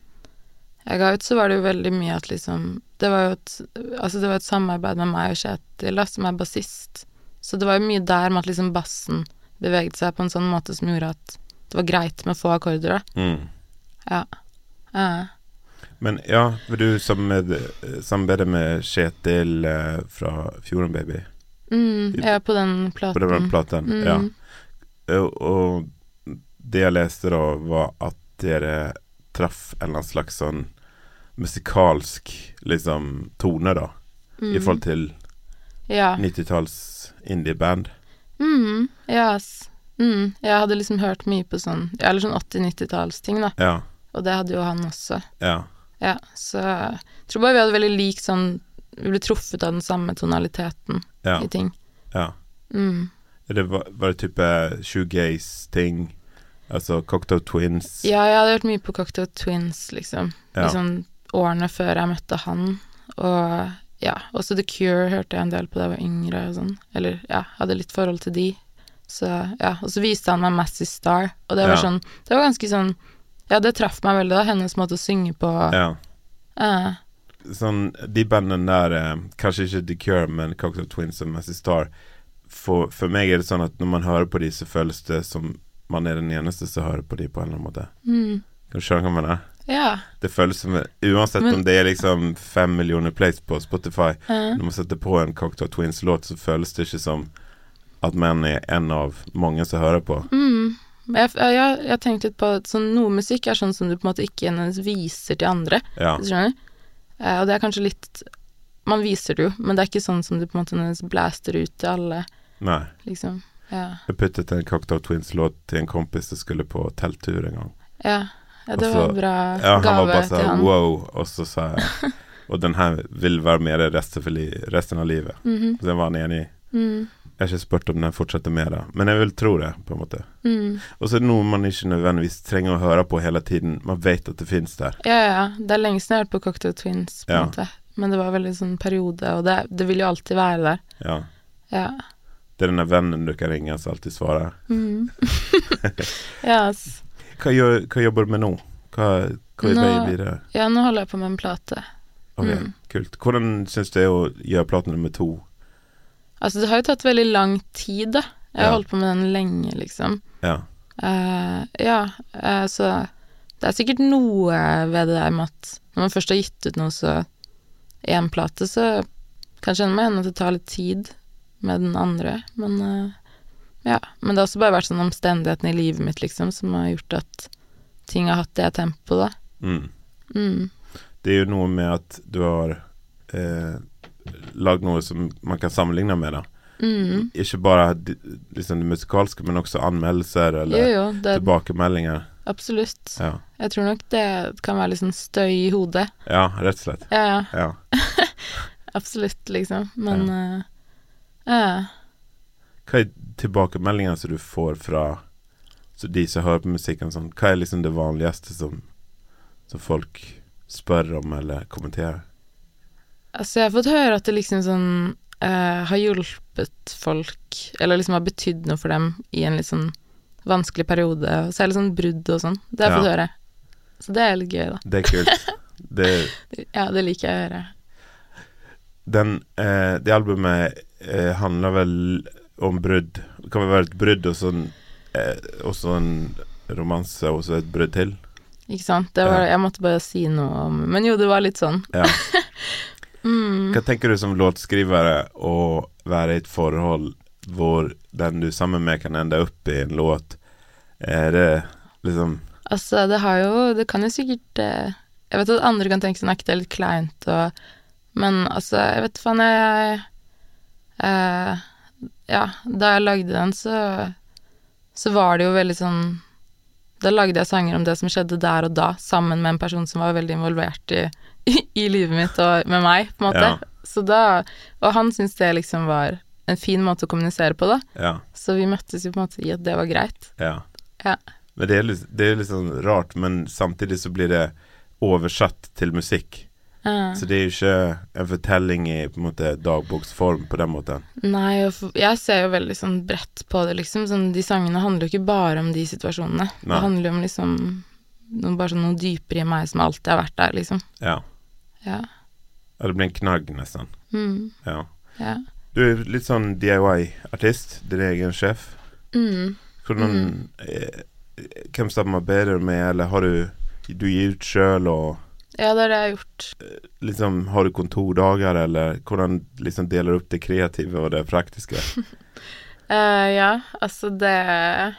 Speaker 2: jeg ga ut, så var det jo veldig mye at liksom Det var jo et, altså det var et samarbeid med meg og Kjetil, da, som er bassist. Så det var jo mye der med at liksom bassen beveget seg på en sånn måte som gjorde at det var greit med få akkorder, da.
Speaker 1: mm.
Speaker 2: Ja. Ja.
Speaker 1: Men ja, for du som med, samarbeider med Kjetil eh, fra Fjorden Baby
Speaker 2: Mm, ja, på den platen.
Speaker 1: på den platen.
Speaker 2: Mm.
Speaker 1: Ja. Og, og det jeg leste da, var at dere traff en eller annen slags sånn musikalsk liksom tone, da, i
Speaker 2: Mm.
Speaker 1: forhold til
Speaker 2: Ja.
Speaker 1: 90-talls indie-band.
Speaker 2: Mm, yes. mm, jeg hadde liksom hørt mye på sånn ja, Eller sånn 80-90-tallsting, da.
Speaker 1: Ja.
Speaker 2: Og det hadde jo han også.
Speaker 1: Ja.
Speaker 2: Ja, så jeg tror bare vi hadde veldig lik sånn Vi ble truffet av den samme tonaliteten
Speaker 1: Ja.
Speaker 2: i ting.
Speaker 1: ja.
Speaker 2: Mm.
Speaker 1: Det var, var det type shoegaze-ting? Altså Cocktail Twins?
Speaker 2: Ja, jeg hadde hørt mye på Cocktail Twins, liksom.
Speaker 1: Ja.
Speaker 2: I sånn årene før jeg møtte han. Og ja, også The Cure hørte jeg en del på da jeg var yngre og sånn. Eller ja, hadde litt forhold til de. Så ja, og så viste han meg Massy Star, og det var
Speaker 1: Ja.
Speaker 2: sånn Det var ganske sånn Ja, det traff meg veldig, da. Hennes måte å synge på. eh, Ja.
Speaker 1: Ja. sånn, de bandene der eh, Kanskje ikke The Cure, men Cocktail Twins og Massey Star for, for meg er det sånn at når man hører på de så føles det som man er den eneste som hører på de på en eller annen måte.
Speaker 2: mm,
Speaker 1: Kan du skjønne hva jeg mener?
Speaker 2: ja.
Speaker 1: Det føles som Uansett
Speaker 2: Men-
Speaker 1: om det er liksom fem millioner plays på Spotify,
Speaker 2: eh,
Speaker 1: når man setter på en Cocktail Twins-låt, så føles det ikke som at man er en av mange som hører på.
Speaker 2: mm. Men Jeg, jeg, jeg har tenkt litt på at sånn, noe musikk er sånn som du på en måte ikke nødvendigvis viser til andre.
Speaker 1: Ja.
Speaker 2: Hvis du skjønner? Eh, og det er kanskje litt Man viser det jo, men det er ikke sånn som du på en måte nødvendigvis blaster ut til alle,
Speaker 1: Nei.
Speaker 2: liksom. Ja.
Speaker 1: Jeg puttet en Cocktail Twins-låt til en kompis som skulle på telttur en gang.
Speaker 2: Ja, ja det
Speaker 1: Og så-
Speaker 2: var en bra
Speaker 1: Altså, Ja, han var
Speaker 2: gave
Speaker 1: bare
Speaker 2: til
Speaker 1: såhär
Speaker 2: han.
Speaker 1: wow, og så sa jeg Og den her vil være med deg resten, for li resten av livet.
Speaker 2: Mhm,
Speaker 1: Og så var han enig.
Speaker 2: mm,
Speaker 1: Jeg har ikke spurt om den fortsetter med det, men jeg vil tro det, på en måte.
Speaker 2: mm.
Speaker 1: Og så er det noe man ikke nødvendigvis trenger å høre på hele tiden. Man vet at det fins der.
Speaker 2: Ja, ja. Det er lenge siden jeg har hørt på Cocktail Twins, på en
Speaker 1: Ja.
Speaker 2: måte. Men det var veldig sånn periode, og det, det vil jo alltid være der.
Speaker 1: Ja.
Speaker 2: Ja.
Speaker 1: Det er den der vennen du kan ringe som alltid svarer.
Speaker 2: Mm. yes.
Speaker 1: Hva, gjør, hva jobber du med nå? Hva, Hva er
Speaker 2: Nå- Mm.
Speaker 1: baby det?
Speaker 2: Ja, nå holder jeg på med en plate.
Speaker 1: Ok, kult. Hvordan syns du det er å gjøre plate nummer to?
Speaker 2: Altså, det har jo tatt veldig lang tid, da. Jeg har
Speaker 1: Ja.
Speaker 2: holdt på med den lenge, liksom.
Speaker 1: Ja.
Speaker 2: Eh, ja, eh, så det er sikkert noe ved det der med at når man først har gitt ut noe, så én plate, så kan jeg kjenne meg igjen at det tar litt tid med den andre, men eh, ja. Men det har også bare vært sånn omstendighetene i livet mitt, liksom, som har gjort at ting har hatt det tempoet, da.
Speaker 1: Mm.
Speaker 2: Mm.
Speaker 1: Det er jo noe med at du har eh, lagd noe som man kan sammenligne med. Da.
Speaker 2: Mm.
Speaker 1: Ikke bare d- liksom, det musikalske, men også anmeldelser
Speaker 2: Jo,
Speaker 1: eller
Speaker 2: jo, det,
Speaker 1: tilbakemeldinger.
Speaker 2: absolutt.
Speaker 1: Ja.
Speaker 2: Jeg tror nok det kan være litt sånn støy i hodet.
Speaker 1: ja, rett og slett.
Speaker 2: Ja, ja.
Speaker 1: Ja.
Speaker 2: Absolutt, liksom. Men eh, ja.
Speaker 1: Hva er tilbakemeldingene som du får fra så de som hører på musikken? Sånn, hva er liksom det vanligste som, som folk spør om eller kommenterer?
Speaker 2: Altså, jeg har fått høre at det liksom sånn eh, har hjulpet folk, eller liksom har betydd noe for dem i en litt sånn vanskelig periode, og særlig sånn brudd og sånn. Det har jeg
Speaker 1: Ja.
Speaker 2: fått høre. Så det er litt gøy, da.
Speaker 1: Det er kult. det er
Speaker 2: Ja, det liker jeg å høre.
Speaker 1: den, eh, det albumet eh, handlar väl om brudd. Det kan väl vara ett brudd och så en, eh, och så en romans och så ett brudd till.
Speaker 2: Ikke sant? Det var,
Speaker 1: Ja.
Speaker 2: Jeg måtte bare si noe om Men jo, det var litt sånn.
Speaker 1: Ja.
Speaker 2: Mm.
Speaker 1: Vad tänker du som låtskrivare och vara i ett förhåll hvor den du är samman med kan ända upp i en låt? Är det liksom
Speaker 2: Altså, det har jo Det kan jo sikkert eh, Jeg vet at andre kan tenke sånn at det er litt kleint og Men altså, jeg vet faen, jeg eh, Ja, da jeg lagde den, så Så var det jo veldig sånn Da lagde jeg sanger om det som skjedde der og da, sammen med en person som var veldig involvert i, i, i livet mitt og med meg, på en måte.
Speaker 1: Ja.
Speaker 2: Så da Og han syntes det liksom var en fin måte å kommunisere på, da.
Speaker 1: ja,
Speaker 2: Så vi møttes jo på en måte i at det var greit.
Speaker 1: ja.
Speaker 2: Ja.
Speaker 1: Men det är, li- det är liksom rart men samtidigt så blir det översatt till musik.
Speaker 2: Eh.
Speaker 1: Så det är ju inte en fortelling i på en måte, dagboksform på den måten.
Speaker 2: Nei, og for- jeg ser jo veldig sånn bredt på det, liksom. Sånn, de sangene handler jo ikke bare om de situasjonene.
Speaker 1: Nei.
Speaker 2: Det handler jo om liksom noe, bare sånn noe dypere i meg som alltid har vært der, liksom.
Speaker 1: Ja.
Speaker 2: Ja.
Speaker 1: Ja, det blir en knagg nesten.
Speaker 2: Mm,
Speaker 1: Ja.
Speaker 2: ja.
Speaker 1: Du er litt sånn DIY-artist, din egen sjef.
Speaker 2: Mm.
Speaker 1: Hvordan eh, Hvem samarbeider du med, eller har du Du gir ut sjøl, og
Speaker 2: ja, det er det jeg har gjort.
Speaker 1: liksom Har du kontordager, eller hvordan liksom deler du opp det kreative og det praktiske?
Speaker 2: Eh, ja, altså det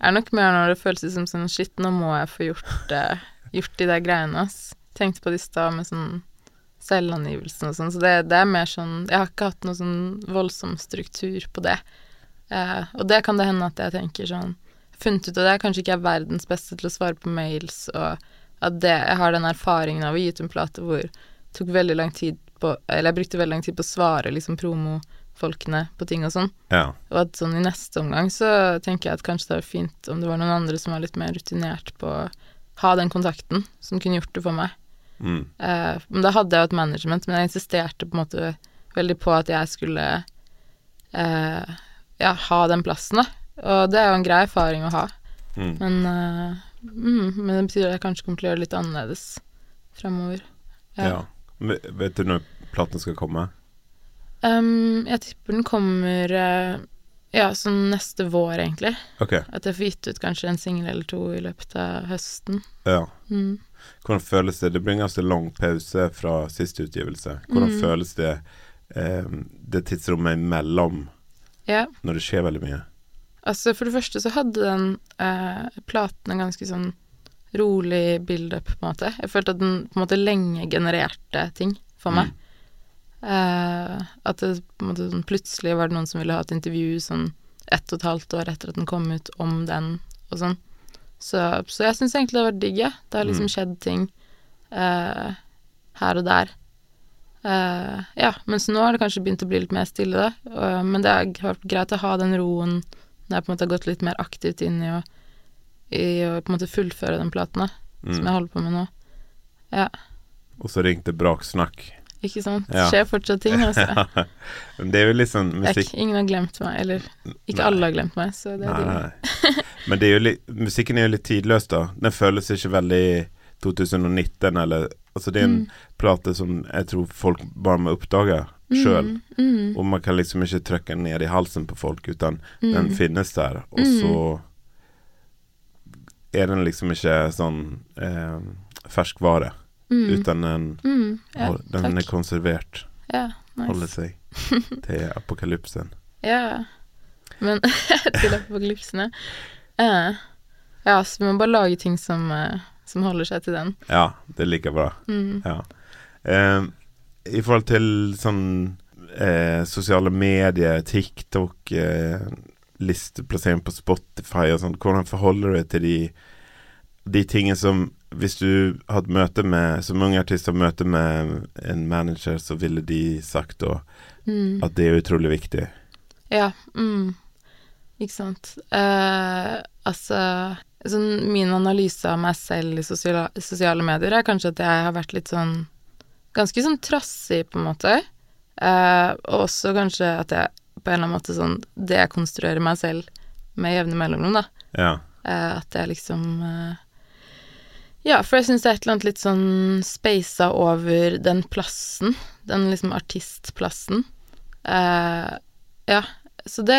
Speaker 2: er nok mer når det føles ut som sånn shit, nå må jeg få gjort, eh, gjort de der greiene, ass. Tenkte på det i stad med sånn selvangivelsen og sånn, så det, det er mer sånn Jeg har ikke hatt noe sånn voldsom struktur på det. Eh, og det kan det hende at jeg tenker sånn Funnet ut at jeg kanskje ikke er verdens beste til å svare på mails, og at det, jeg har den erfaringen av å gi ut en plate hvor det tok veldig lang tid på Eller jeg brukte veldig lang tid på å svare liksom promofolkene på ting og sånn.
Speaker 1: Ja.
Speaker 2: Og at sånn i neste omgang så tenker jeg at kanskje det var fint om det var noen andre som var litt mer rutinert på å ha den kontakten, som kunne gjort det for meg.
Speaker 1: Mm.
Speaker 2: Eh, men da hadde jeg jo et management, men jeg insisterte på en måte veldig på at jeg skulle eh, ja, ha den plassen, da. Og det er jo en grei erfaring å ha.
Speaker 1: Mm.
Speaker 2: Men, eh, mm, men det betyr at jeg kanskje kommer til å gjøre det litt annerledes framover.
Speaker 1: ja. Men Vet du når platen skal komme?
Speaker 2: Ehm, jeg tipper den kommer eh, ja, sånn neste vår, egentlig.
Speaker 1: Ok.
Speaker 2: At jeg får gitt ut kanskje en singel eller to i løpet av høsten.
Speaker 1: Ja.
Speaker 2: Mm.
Speaker 1: Hvordan føles det? Det blir en ganske lang pause fra siste utgivelse. Hvordan
Speaker 2: Mm.
Speaker 1: føles det, eh, det tidsrommet imellom,
Speaker 2: Ja,
Speaker 1: når det skjer veldig mye?
Speaker 2: altså for det første så hadde den eh, platen en ganske sånn rolig build-up, på en måte. Jeg følte at den på en måte lenge genererte ting for meg. Eh, at det på en måte sånn, plutselig var det noen som ville ha et intervju sånn ett og et halvt år etter at den kom ut, om den og sånn. Så, så jeg syns egentlig det har vært digg, jeg. Det har liksom skjedd ting eh, her og der. Eh, ja, mens nå har det kanskje begynt å bli litt mer stille, da. Og- men det har vært greit å ha den roen når jeg på en måte har gått litt mer aktivt inn i å, i å på en måte fullføre den platen, da, som jeg
Speaker 1: Mm.
Speaker 2: holder på med nå.
Speaker 1: Og så ringte Braksnakk.
Speaker 2: Ikke sant? Det
Speaker 1: Ja.
Speaker 2: skjer fortsatt ting, altså.
Speaker 1: Men det er jo litt sånn
Speaker 2: Jeg,
Speaker 1: musikk
Speaker 2: ingen har glemt meg, eller ikke
Speaker 1: Nei.
Speaker 2: alle har glemt meg, så det
Speaker 1: Nei,
Speaker 2: er digg.
Speaker 1: nei. Men det er jo litt, musikken er jo litt tidløs, da. Den føles ikke veldig 2019 eller Altså det er en
Speaker 2: Mm.
Speaker 1: plate som jeg tror folk bare må oppdage sjøl.
Speaker 2: Mm.
Speaker 1: Og man kan liksom ikke trykke den ned i halsen på folk, utan den finnes der. Og
Speaker 2: Mm.
Speaker 1: så er den liksom ikke sånn eh, ferskvare, utan den,
Speaker 2: Mm. Ja,
Speaker 1: hol- den er
Speaker 2: takk.
Speaker 1: konservert.
Speaker 2: Ja,
Speaker 1: Holder
Speaker 2: nice.
Speaker 1: seg til apokalypsen.
Speaker 2: Ja. Men til apokalypsene. Eh, ja, så vi må bare lage ting som, eh, som holder seg til den.
Speaker 1: Ja, det er like bra.
Speaker 2: Mm.
Speaker 1: Ja. Eh, I forhold til sånn eh, sosiale medier, TikTok, eh, listeplassering på Spotify og sånt, hvordan forholder du deg til de, de tingene som Hvis du har et møte med Som ung artist har møte med en manager, så ville de sagt da
Speaker 2: Mm.
Speaker 1: at det er utrolig viktig.
Speaker 2: Ja. Mm. Ikke sant. Eh, altså sånn Min analyse av meg selv i sosiale, sosiale medier er kanskje at jeg har vært litt sånn Ganske sånn trassig, på en måte. Eh, og også kanskje at jeg på en eller annen måte sånn dekonstruerer meg selv med jevne mellomrom, da.
Speaker 1: Ja.
Speaker 2: Eh, at jeg liksom eh, Ja, for jeg syns det er et eller annet litt sånn speisa over den plassen. Den liksom artistplassen. Eh, ja, så det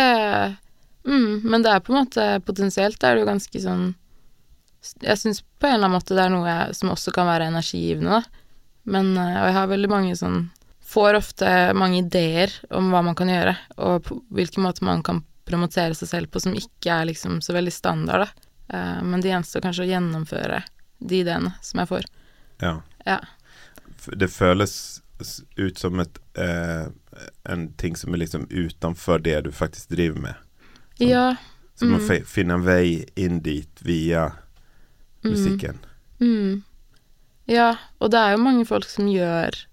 Speaker 2: mm, Men det er på en måte Potensielt er det jo ganske sånn Jeg syns på en eller annen måte det er noe jeg, som også kan være energigivende, da. Men eh, Og jeg har veldig mange sånn Får ofte mange ideer om hva man kan gjøre, og på hvilken måte man kan promotere seg selv på som ikke er liksom så veldig standard, da. Eh, men det gjenstår kanskje å gjennomføre de ideene som jeg får.
Speaker 1: ja.
Speaker 2: Ja.
Speaker 1: F- Det føles s- ut som et, eh, en ting som er liksom utenfor det du faktisk driver med.
Speaker 2: Ja.
Speaker 1: Så man
Speaker 2: Mm.
Speaker 1: fi- finner en vei inn dit via musikken.
Speaker 2: Mm. Ja, og det er jo mange folk som gjør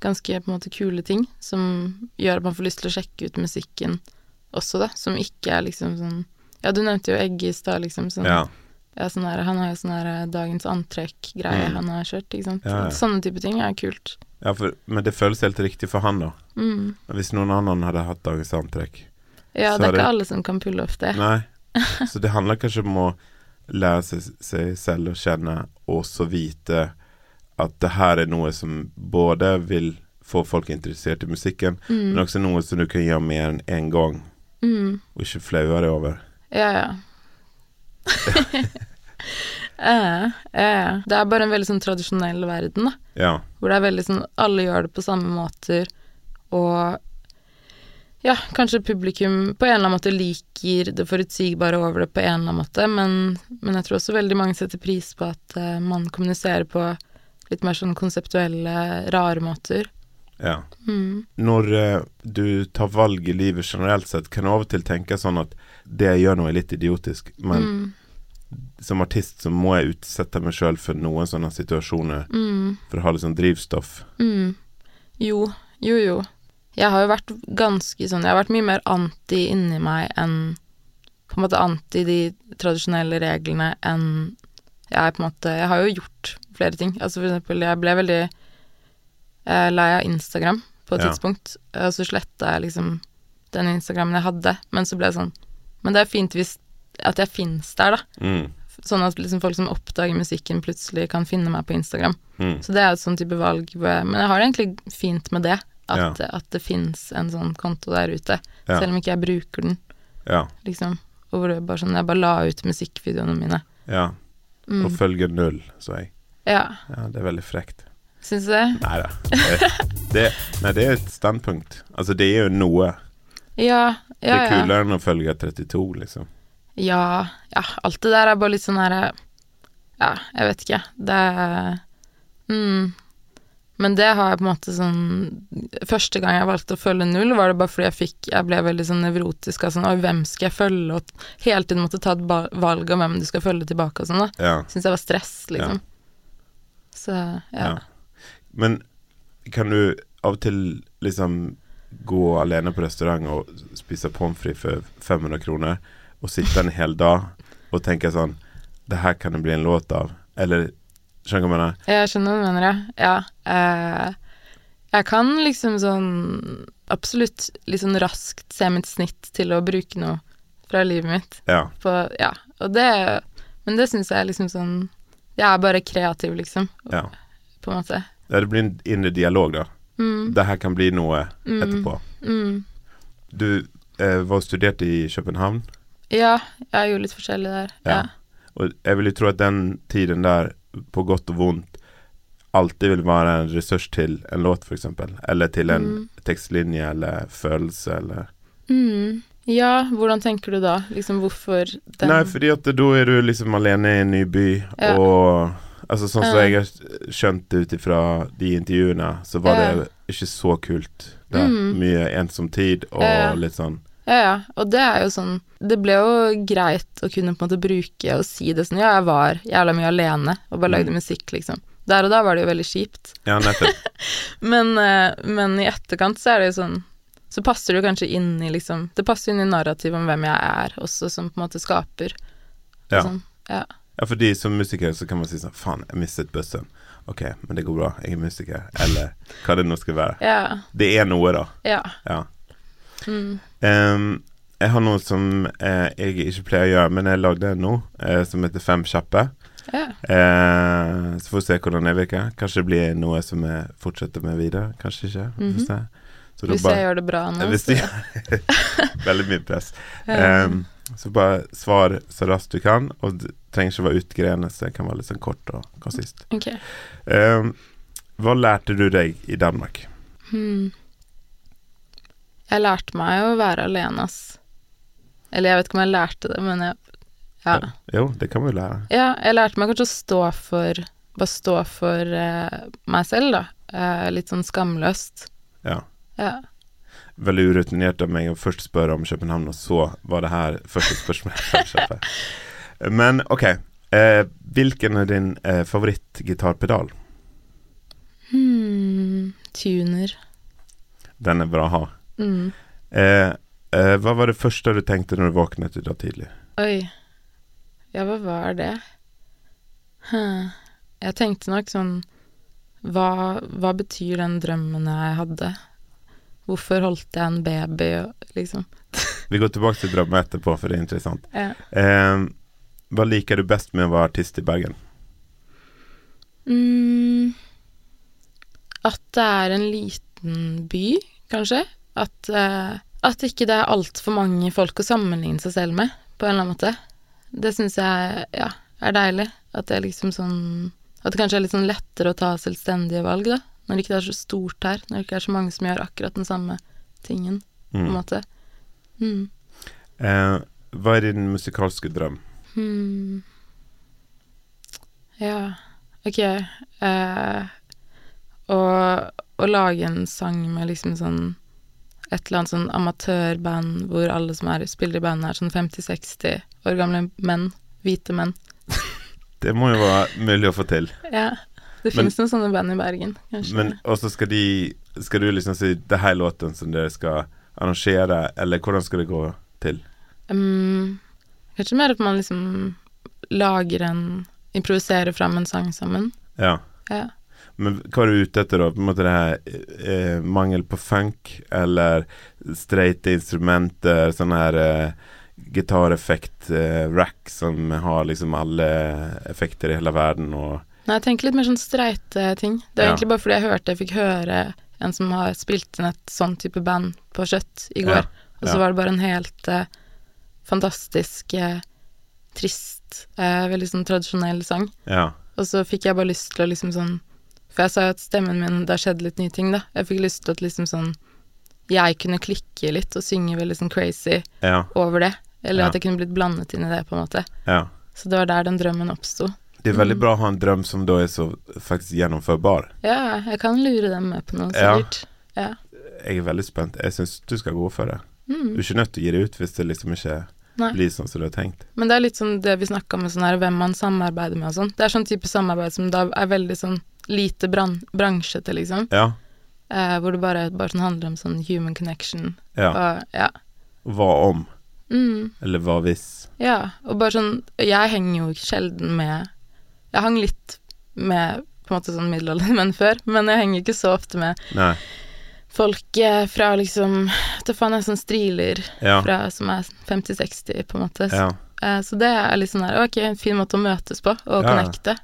Speaker 2: ganske på en måte kule ting, som gjør at man får lyst til å sjekke ut musikken også, da, som ikke er liksom sånn Ja, du nevnte jo Egg i stad, liksom. Sånn,
Speaker 1: Ja.
Speaker 2: ja, sånn der, han har jo sånn der eh, dagens antrekk-greie
Speaker 1: Mm.
Speaker 2: han har kjørt, ikke sant.
Speaker 1: Ja, ja.
Speaker 2: Sånne type ting er kult.
Speaker 1: ja for, men det føles helt riktig for han, da.
Speaker 2: Mm.
Speaker 1: Hvis noen annen hadde hatt dagens antrekk.
Speaker 2: Ja,
Speaker 1: Så
Speaker 2: det
Speaker 1: er
Speaker 2: er
Speaker 1: det-
Speaker 2: ikke alle som kan pulle off det.
Speaker 1: Nei. Så det handler kanskje om å lære seg, seg selv å kjenne, og så vite at det her er noe som både vil få folk interessert i musikken,
Speaker 2: Mm.
Speaker 1: men også noe som du kan gjøre mer enn én gang,
Speaker 2: Mm.
Speaker 1: og ikke flaue deg over.
Speaker 2: Ja, ja. ja, ja, ja. Det er bare en veldig sånn tradisjonell verden, da.
Speaker 1: Ja.
Speaker 2: Hvor det er veldig sånn Alle gjør det på samme måter, og ja, kanskje publikum på en eller annen måte liker det forutsigbare over det på en eller annen måte, men, men jeg tror også veldig mange setter pris på at eh, man kommuniserer på litt mer sånn konseptuelle, rare måter.
Speaker 1: ja.
Speaker 2: Mm.
Speaker 1: Når eh, du tar valg i livet generelt sett, kan du av og til tenke sånn at det jeg gjør nå er litt idiotisk, men
Speaker 2: Mm.
Speaker 1: som artist så må jeg utsette meg sjøl for noen sånne situasjoner
Speaker 2: Mm.
Speaker 1: for å ha litt sånn drivstoff.
Speaker 2: Mm. Jo, jo, jo. Jeg har jo vært ganske sånn Jeg har vært mye mer anti inni meg enn På en måte anti de tradisjonelle reglene enn jeg er på en måte Jeg har jo gjort flere ting. Altså for eksempel, jeg ble veldig eh, lei av Instagram på et
Speaker 1: Ja.
Speaker 2: tidspunkt, og så sletta jeg liksom den Instagrammen jeg hadde, men så ble jeg sånn Men det er fint hvis at jeg fins der, da.
Speaker 1: Mm.
Speaker 2: Sånn at liksom folk som oppdager musikken, plutselig kan finne meg på Instagram.
Speaker 1: Mm.
Speaker 2: Så det er et sånn type valg. hvor jeg- Men jeg har det egentlig fint med det. At, at det fins en sånn konto der ute.
Speaker 1: Ja.
Speaker 2: Selv om ikke jeg bruker den,
Speaker 1: Ja.
Speaker 2: liksom. Og hvor det er bare sånn, jeg bare la ut musikkvideoene mine.
Speaker 1: ja. Og
Speaker 2: Mm.
Speaker 1: følger null, sa jeg.
Speaker 2: Ja,
Speaker 1: Ja, det er veldig frekt.
Speaker 2: syns du det?
Speaker 1: Nei da. Det, det, nei, det er et standpunkt. Altså, det er jo noe.
Speaker 2: Ja,
Speaker 1: Det
Speaker 2: ja,
Speaker 1: er
Speaker 2: ja.
Speaker 1: kulere enn å følge 32, liksom.
Speaker 2: Ja, ja. Alt det der er bare litt sånn her Ja, jeg vet ikke. Det er mm. Men det har jeg på en måte sånn Første gang jeg valgte å følge null, var det bare fordi jeg fikk Jeg ble veldig sånn nevrotisk av sånn Oi, hvem skal jeg følge? Og hele tiden måtte ta et ba- valg om hvem du skal følge tilbake og sånn, da.
Speaker 1: Ja.
Speaker 2: Syns jeg var stress, liksom. Så ja.
Speaker 1: Ja. Men kan du av og til liksom gå alene på restaurant og spise pommes frites for 500 kroner, og sitte en hel dag og tenke sånn Det her kan det bli en låt av. Eller Skjønner du hva jeg mener?
Speaker 2: Jeg skjønner hva du mener, ja. ja eh, jeg kan liksom sånn absolutt litt sånn raskt se mitt snitt til å bruke noe fra livet mitt
Speaker 1: Ja.
Speaker 2: på Ja, og det Men det syns jeg er liksom sånn Jeg er bare kreativ, liksom.
Speaker 1: Ja.
Speaker 2: På en måte.
Speaker 1: Ja, Det blir en indre dialog, da. Det her kan bli noe etterpå.
Speaker 2: Mm,
Speaker 1: Du eh, var og studerte i København,
Speaker 2: Ja, jeg gjorde litt forskjellig der.
Speaker 1: Ja.
Speaker 2: Ja.
Speaker 1: og jeg vil jo tro at den tiden der, på godt og vondt, alltid vil være en ressurs til en låt, f.eks., eller til en tekstlinje eller følelse, eller
Speaker 2: Mm. ja, hvordan tenker du da? Liksom hvorfor den
Speaker 1: Nei, fordi at da er du liksom alene i en ny by,
Speaker 2: Ja.
Speaker 1: og Altså Sånn som
Speaker 2: Ja.
Speaker 1: jeg har skjønt ut ifra de intervjuene, så var
Speaker 2: Ja. Mm.
Speaker 1: det ikke så kult. Det er mye ensom tid og
Speaker 2: Ja.
Speaker 1: litt sånn
Speaker 2: Ja, ja. Og det er jo sånn Det ble jo greit å kunne på en måte bruke og si det sånn Ja, jeg var jævla mye alene og bare lagde
Speaker 1: Mm.
Speaker 2: musikk, liksom. Der og da var det jo veldig kjipt.
Speaker 1: Ja, nettopp.
Speaker 2: Men, eh, men i etterkant så er det jo sånn Så passer du kanskje inn i liksom Det passer inn i narrativet om hvem jeg er, også som på en måte skaper. og
Speaker 1: Ja.
Speaker 2: Sånn. ja.
Speaker 1: Ja, fordi som musiker så kan man si sånn Faen, jeg mistet bussen. Ok, men det går bra. Jeg er musiker. Eller hva det nå skal være.
Speaker 2: Ja.
Speaker 1: Det er noe, da.
Speaker 2: Ja.
Speaker 1: Ja.
Speaker 2: Mm.
Speaker 1: Em, jeg har noe som eh, jeg ikke pleier å gjøre, men jeg lagde en nå, eh, som heter Fem kjappe.
Speaker 2: ja.
Speaker 1: Eh, så får vi se hvordan det virker. Kanskje det blir noe som jeg fortsetter med videre. Kanskje ikke. Vi får se. Så da
Speaker 2: Mhm. Hvis
Speaker 1: bare-
Speaker 2: jeg gjør det bra nå,
Speaker 1: Hvis du
Speaker 2: så
Speaker 1: Veldig mye press.
Speaker 2: Ja.
Speaker 1: Em, så bare svar så raskt du kan, og det trenger ikke å være utgrenende, så det kan være litt sånn kort og konsist.
Speaker 2: Ok.
Speaker 1: Ehm, hva lærte du deg i Danmark?
Speaker 2: Hmm. Jeg lærte meg å være alene, ass. Eller jeg vet ikke om jeg lærte det, men jeg Ja.
Speaker 1: Jo, det kan vi jo lære.
Speaker 2: ja jeg lærte meg kanskje å stå for Bare stå for eh, meg selv, da. Eh, litt sånn skamløst.
Speaker 1: Ja.
Speaker 2: Ja.
Speaker 1: Veldig urutinert av meg å først spørre om København, og så var det her første spørsmål. jeg kjøpte. Men ok, eh, hvilken er din eh, favorittgitarpedal?
Speaker 2: Hmm. Tuner.
Speaker 1: Den er bra å ha.
Speaker 2: Mm.
Speaker 1: Eh, eh, hva var det første du tenkte når du våknet i dag tidlig?
Speaker 2: Oi. Ja, hva var det? Hm. Jeg tenkte nok sånn hva, hva betyr den drømmen jeg hadde? Hvorfor holdt jeg en baby, og liksom?
Speaker 1: Vi går tilbake til drømmen etterpå, for det er interessant.
Speaker 2: Ja.
Speaker 1: Ehm, hva liker du best med å være artist i Bergen?
Speaker 2: Mm, at det er en liten by, kanskje. At, eh, at ikke det er altfor mange folk å sammenligne seg selv med, på en eller annen måte. Det syns jeg ja, er deilig. At det er liksom sånn At det kanskje er litt sånn lettere å ta selvstendige valg, da. Når det ikke er så stort her. Når det ikke er så mange som gjør akkurat den samme tingen, på en
Speaker 1: Mm.
Speaker 2: måte. Mm.
Speaker 1: Eh, hva er din musikalske drøm?
Speaker 2: Hmm. Ja, ok. eh, Å å lage en sang med liksom sånn et eller annet sånn amatørband hvor alle som er, spiller i bandet, er sånn 50-60 år gamle menn. Hvite menn.
Speaker 1: Det må jo være mulig å få til.
Speaker 2: Ja. Det
Speaker 1: Men-
Speaker 2: finnes noen sånne band i Bergen, kanskje.
Speaker 1: Men og så skal de Skal du liksom si Det her er låten som dere skal arrangere Eller hvordan skal det gå til?
Speaker 2: Mm, kanskje mer at man liksom lager en Improviserer fram en sang sammen.
Speaker 1: Ja
Speaker 2: Ja.
Speaker 1: Men hva er du ute etter da? På en måte det her eh, Mangel på funk Eller streite instrumenter Sånn her eh, Gitareffekt eh, Rack som har liksom alle effekter i hele verden og
Speaker 2: Nei, jeg tenker litt mer sånn streite ting. Det er
Speaker 1: Ja.
Speaker 2: egentlig bare fordi jeg hørte jeg fikk høre en som har spilt inn et sånn type band på Kjøtt i
Speaker 1: Ja,
Speaker 2: går, og så
Speaker 1: ja.
Speaker 2: var det bare en helt eh, fantastisk eh, trist, eh, veldig sånn tradisjonell sang.
Speaker 1: Ja
Speaker 2: Og så fikk jeg bare lyst til å liksom sånn For jeg sa jo at stemmen min Det har skjedd litt nye ting, da. Jeg fikk lyst til at liksom sånn Jeg kunne klikke litt og synge veldig sånn crazy
Speaker 1: Ja,
Speaker 2: over det. Eller
Speaker 1: Ja.
Speaker 2: at jeg kunne blitt blandet inn i det, på en måte.
Speaker 1: ja
Speaker 2: Så det var der den drømmen oppsto.
Speaker 1: det er veldig bra å ha en drøm som da er så faktisk gjennomførbar
Speaker 2: Ja, jeg kan lure dem med på noe,
Speaker 1: Ja.
Speaker 2: sikkert. Ja.
Speaker 1: Jeg er veldig spent Jeg synes du skal gå for det Du
Speaker 2: Mm.
Speaker 1: er ikke nødt til å gi det ut hvis det liksom ikke
Speaker 2: Nei.
Speaker 1: blir sånn som du har tenkt.
Speaker 2: Men det er litt sånn det vi snakka om, sånn her, hvem man samarbeider med og sånn. Det er sånn type samarbeid som da er veldig sånn lite bran bransjete, liksom.
Speaker 1: Ja.
Speaker 2: Eh, hvor det bare, bare sånn handler om sånn human connection.
Speaker 1: ja.
Speaker 2: Og, ja.
Speaker 1: Hva om?
Speaker 2: Mm,
Speaker 1: Eller hva hvis?
Speaker 2: ja. Og bare sånn Jeg henger jo sjelden med Jeg hang litt med på en måte sånn middelaldrende menn før, men jeg henger ikke så ofte med
Speaker 1: Nei.
Speaker 2: folk eh, fra liksom Det faen er sånn striler
Speaker 1: Ja.
Speaker 2: fra, som er 50-60, på en måte. Så
Speaker 1: ja.
Speaker 2: Eh, Så det er litt sånn her, ok, en fin måte å møtes på og
Speaker 1: Ja, ja.
Speaker 2: connecte.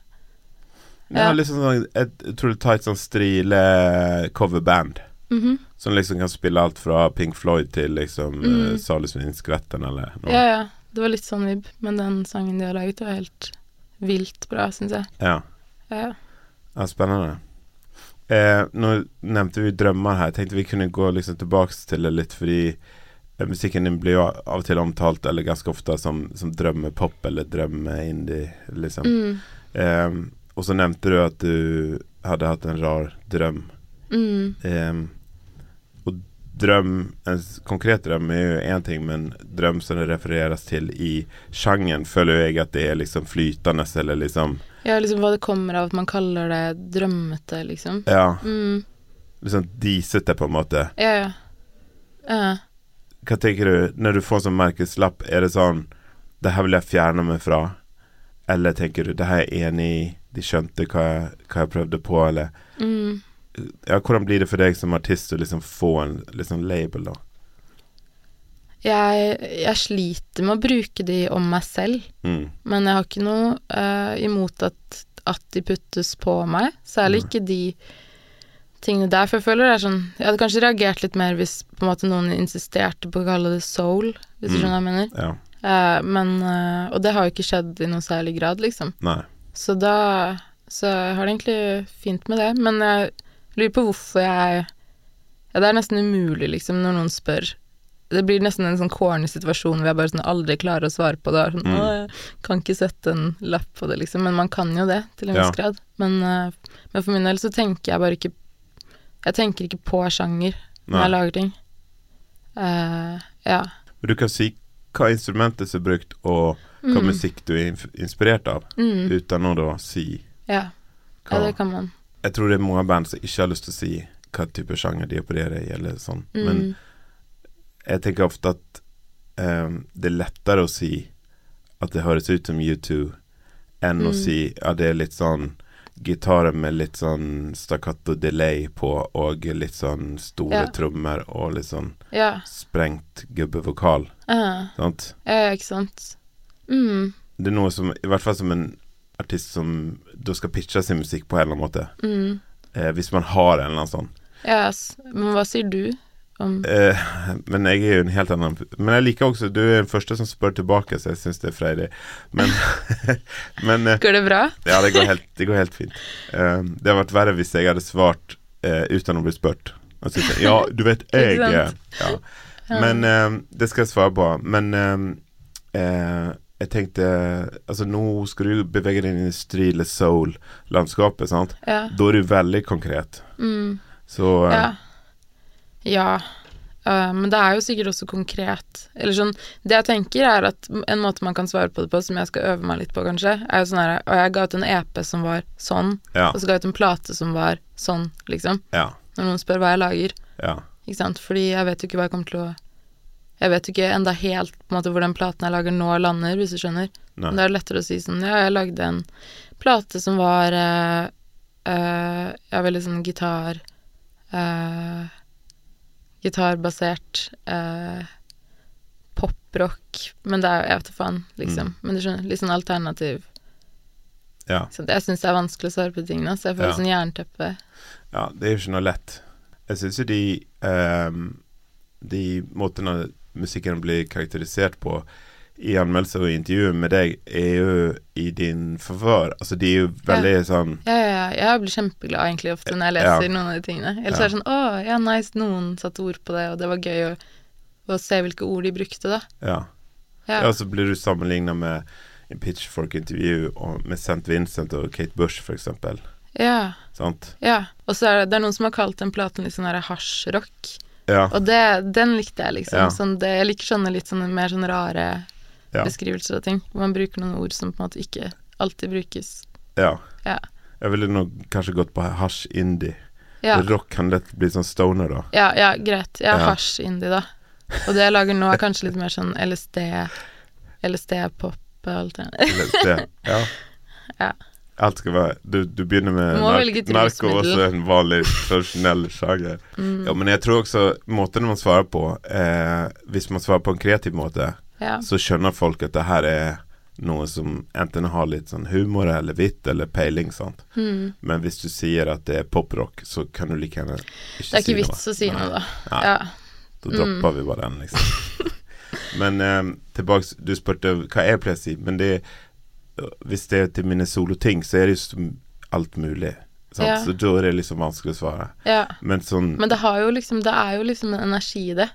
Speaker 1: Det har
Speaker 2: Ja.
Speaker 1: liksom sånn et utrolig tight sånn strile coverband.
Speaker 2: Mhm.
Speaker 1: Som liksom kan spille alt fra Pink Floyd til liksom
Speaker 2: Mm.
Speaker 1: mm. Salusvinskvetten eller noe.
Speaker 2: Ja, ja. Det var litt sånn vibb, men den sangen de har laget, var helt vilt bra, syns jeg.
Speaker 1: Ja.
Speaker 2: Ja.
Speaker 1: ja, spennende. Eh, nå nevnte vi drømmer her. Jeg tenkte vi kunne gå liksom tilbake til det litt, fordi eh, musikken din blir jo av og til omtalt, eller ganske ofte, som, som drømmepop eller drømmeindie, liksom.
Speaker 2: Mm.
Speaker 1: Eh, og så nevnte du at du hadde hatt en rar drøm.
Speaker 2: Mm.
Speaker 1: Ehm, og drøm, en s- konkret drøm er jo én ting, men drøm som det refereres til i sjangeren, føler jo jeg at det er liksom flytende, eller liksom
Speaker 2: Ja, liksom hva det kommer av at man kaller det drømmete, liksom.
Speaker 1: Ja,
Speaker 2: Mm.
Speaker 1: liksom disete, på en måte.
Speaker 2: Ja, ja. Ja.
Speaker 1: Hva tenker du når du får sånn merkeslapp? Er det sånn Det her vil jeg fjerne meg fra. Eller tenker du det her er jeg enig i, de skjønte hva jeg, hva jeg prøvde på, eller
Speaker 2: Mm.
Speaker 1: ja, Hvordan blir det for deg som artist å liksom få en liksom label, da?
Speaker 2: Jeg, jeg sliter med å bruke de om meg selv.
Speaker 1: Mm.
Speaker 2: Men jeg har ikke noe eh, imot at, at de puttes på meg. Særlig ikke de tingene der. For jeg føler det er sånn Jeg hadde kanskje reagert litt mer hvis på en måte, noen insisterte på å kalle det soul, hvis du
Speaker 1: Mm.
Speaker 2: skjønner hva jeg mener.
Speaker 1: Ja.
Speaker 2: Eh, men, eh, og det har jo ikke skjedd i noe særlig grad, liksom.
Speaker 1: Nei.
Speaker 2: Så da Så jeg har det egentlig fint med det. Men jeg lurer på hvorfor jeg Ja, det er nesten umulig, liksom, når noen spør. Det blir nesten en sånn corny situasjon hvor jeg bare sånn aldri klarer å svare på det. og er Sånn,
Speaker 1: Mm.
Speaker 2: «Åh, jeg kan ikke sette en lapp på det, liksom. Men man kan jo det, til en
Speaker 1: Ja.
Speaker 2: viss grad. Men, eh, men for min del så tenker jeg bare ikke Jeg tenker ikke på sjanger når
Speaker 1: Nei.
Speaker 2: jeg lager ting. Eh, ja.
Speaker 1: Men du kan si hva instrumentet som er brukt, og hva
Speaker 2: Mm.
Speaker 1: musikk du er inf- inspirert av,
Speaker 2: Mm.
Speaker 1: uten å da si
Speaker 2: ja. Ja,
Speaker 1: hva
Speaker 2: det kan man.
Speaker 1: Jeg tror det er mange band som ikke har lyst til å si hva type sjanger de opererer i, eller sånn.
Speaker 2: Mm.
Speaker 1: Men jeg tenker ofte at eh, det er lettere å si at det høres ut som U2, enn å
Speaker 2: Mm.
Speaker 1: si at det er litt sånn Gitarer med litt sånn stakkato delay på, og litt sånn store
Speaker 2: Ja.
Speaker 1: trommer, og litt sånn
Speaker 2: Ja.
Speaker 1: sprengt gubbevokal.
Speaker 2: eh.
Speaker 1: Sant?
Speaker 2: Ja, ikke sant. Mm,
Speaker 1: Det er noe som, i hvert fall som en artist som da skal pitche sin musikk på en eller annen måte.
Speaker 2: mm.
Speaker 1: Eh, hvis man har en eller annen sånn.
Speaker 2: Ja, ass. Men hva sier du om
Speaker 1: Eh, men jeg er jo en helt annen Men jeg liker også Du er den første som spør tilbake, så jeg syns det er freidig. Men, men eh,
Speaker 2: Går det bra?
Speaker 1: Ja, det går helt, det går helt fint. Eh, det hadde vært verre hvis jeg hadde svart eh, uten å bli spurt. Altså, så- ja, du vet jeg
Speaker 2: Ikke
Speaker 1: er
Speaker 2: sant?
Speaker 1: ja. Men eh, det skal jeg svare på. Men eh, eh, jeg tenkte Altså, nå skal du bevege deg inn i strile soul-landskapet, sant?
Speaker 2: Ja.
Speaker 1: Da er du veldig konkret.
Speaker 2: Mm,
Speaker 1: Så eh,
Speaker 2: ja. ja. Eh, men det er jo sikkert også konkret. Eller sånn Det jeg tenker, er at en måte man kan svare på det på, som jeg skal øve meg litt på, kanskje, er jo sånn her Og jeg ga ut en EP som var sånn,
Speaker 1: ja.
Speaker 2: og så ga jeg ut en plate som var sånn, liksom.
Speaker 1: Ja.
Speaker 2: Når noen spør hva jeg lager.
Speaker 1: ja.
Speaker 2: Ikke sant? Fordi jeg vet jo ikke hva jeg kommer til å Jeg vet jo ikke enda helt på en måte hvor den platen jeg lager nå, lander, hvis du skjønner.
Speaker 1: Nei.
Speaker 2: Men det er lettere å si sånn Ja, jeg lagde en plate som var eh, eh, Ja, veldig sånn gitar eh, Gitarbasert eh, poprock. Men det er jo Jeg vet da faen, liksom. Men du skjønner, litt sånn alternativ.
Speaker 1: ja.
Speaker 2: Så jeg syns det er vanskelig å svare på de tingene, så jeg får
Speaker 1: Ja.
Speaker 2: sånn jernteppe.
Speaker 1: Ja, det er jo ikke noe lett. Jeg syns jo de ehm, De måtene musikken blir karakterisert på i anmeldelser og intervjuer med deg, er jo i din favør. Altså, de er jo veldig sånn
Speaker 2: Ja, ja, ja, jeg blir kjempeglad egentlig ofte når jeg
Speaker 1: Ja.
Speaker 2: leser noen av de tingene. Ellers er det sånn Å, ja, nice, noen satte ord på det, og det var gøy å, å se hvilke ord de brukte, da.
Speaker 1: Ja.
Speaker 2: Ja.
Speaker 1: ja så blir du sammenligna med i Pitchfork-intervju og- med St. Vincent og Kate Bush, for eksempel.
Speaker 2: ja,
Speaker 1: Sant?
Speaker 2: ja. Og så er det, det er noen som har kalt den platen litt sånn der hasjrock,
Speaker 1: Ja.
Speaker 2: og det, den likte jeg, liksom.
Speaker 1: Ja.
Speaker 2: Sånn, det, jeg liker sånne litt sånne mer sånn rare
Speaker 1: Ja.
Speaker 2: beskrivelser av ting, hvor man bruker noen ord som på en måte ikke alltid brukes.
Speaker 1: ja.
Speaker 2: Ja.
Speaker 1: Jeg ville nok kanskje gått på hasj indie.
Speaker 2: Ja,
Speaker 1: Rock kan lett bli sånn stoner, da.
Speaker 2: ja, ja greit. Jeg har
Speaker 1: Ja.
Speaker 2: hasj indie, da. Og det jeg lager nå, er kanskje litt mer sånn LSD, LSD-pop. Alternativ.
Speaker 1: LSD. Ja.
Speaker 2: Ja.
Speaker 1: Alt skal være Du, du begynner med
Speaker 2: Du må
Speaker 1: nark-
Speaker 2: velge et
Speaker 1: narko og så
Speaker 2: rusmiddel.
Speaker 1: en vanlig tradisjonell sjanger.
Speaker 2: Mm.
Speaker 1: Ja, men jeg tror også måten man svarer på eh, Hvis man svarer på en kreativ måte,
Speaker 2: Ja.
Speaker 1: så skjønner folk at det her er noen som enten har litt sånn humor eller vitt eller peiling, sant.
Speaker 2: Mm.
Speaker 1: Men hvis du sier at det er poprock, så kan du like gjerne ikke si noe.
Speaker 2: Det er ikke vits å si
Speaker 1: Nei.
Speaker 2: noe, da.
Speaker 1: Nei.
Speaker 2: Ja.
Speaker 1: Da dropper vi bare den, liksom. men eh, tilbake Du spurte hva jeg pleier å si, men det eh, Hvis det er til mine soloting, så er det jo som alt mulig. Sant?
Speaker 2: Ja.
Speaker 1: Så da er det liksom vanskelig å svare.
Speaker 2: ja.
Speaker 1: Men sånn
Speaker 2: Men det, har jo liksom, det er jo liksom en energi i det,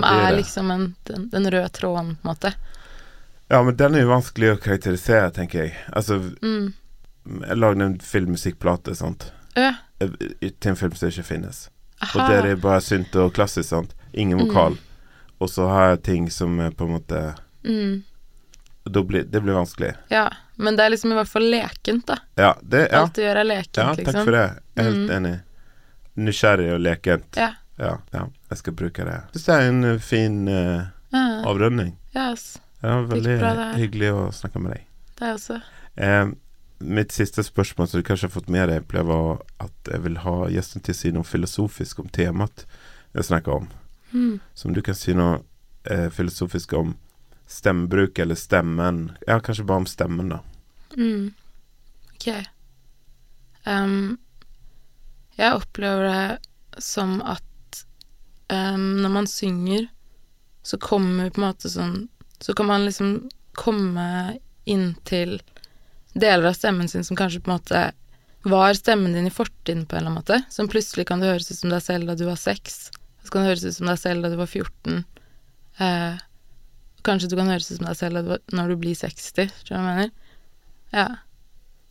Speaker 1: Ja, det er
Speaker 2: er,
Speaker 1: det.
Speaker 2: liksom en, den, den røde tråden, på en måte.
Speaker 1: Ja, men den er jo vanskelig å karakterisere, tenker jeg. Altså
Speaker 2: Mm.
Speaker 1: Jeg lagde en filmmusikkplate, sant.
Speaker 2: Ja.
Speaker 1: Eh, Til en film som ikke finnes. Og
Speaker 2: Aha.
Speaker 1: der er det bare synt og klassisk, sant. Ingen vokal. Og så har jeg ting som er på en måte
Speaker 2: Mm.
Speaker 1: da blir, Det blir vanskelig.
Speaker 2: ja. Men det er liksom i hvert fall lekent, da.
Speaker 1: Ja, det, ja.
Speaker 2: Alt du gjør, er lekent,
Speaker 1: Ja,
Speaker 2: liksom.
Speaker 1: takk for det. Jeg er helt enig. Nysgjerrig og lekent.
Speaker 2: Ja.
Speaker 1: Ja, ja, jeg skal bruke det. Jeg syns det er en eh, fin eh,
Speaker 2: Ja,
Speaker 1: avrunding.
Speaker 2: ja ass.
Speaker 1: Det var
Speaker 2: Gikk
Speaker 1: veldig
Speaker 2: bra, det her.
Speaker 1: hyggelig å snakke med deg.
Speaker 2: Det er også
Speaker 1: Eh, mitt siste spørsmål, som du kanskje har fått med deg, ble var at jeg vil ha gjesten til å si noe filosofisk om temaet jeg snakker om.
Speaker 2: Mm.
Speaker 1: Så om du kan si noe eh, filosofisk om stemmebruk eller stemmen Ja, kanskje bare om stemmen, da.
Speaker 2: Mm. Ok. Ehm, jeg opplever det som at ehm, når man synger, så kommer på en måte sånn Så kan man liksom komme inn til deler av stemmen sin som kanskje på en måte var stemmen din i fortiden på en eller annen måte. Som plutselig kan det høres ut som deg selv da du var seks. Så kan det høres ut som deg selv da du var 14. Eh, kanskje du kan høres ut som deg selv da du var, når du blir 60, tror jeg jeg mener. Ja.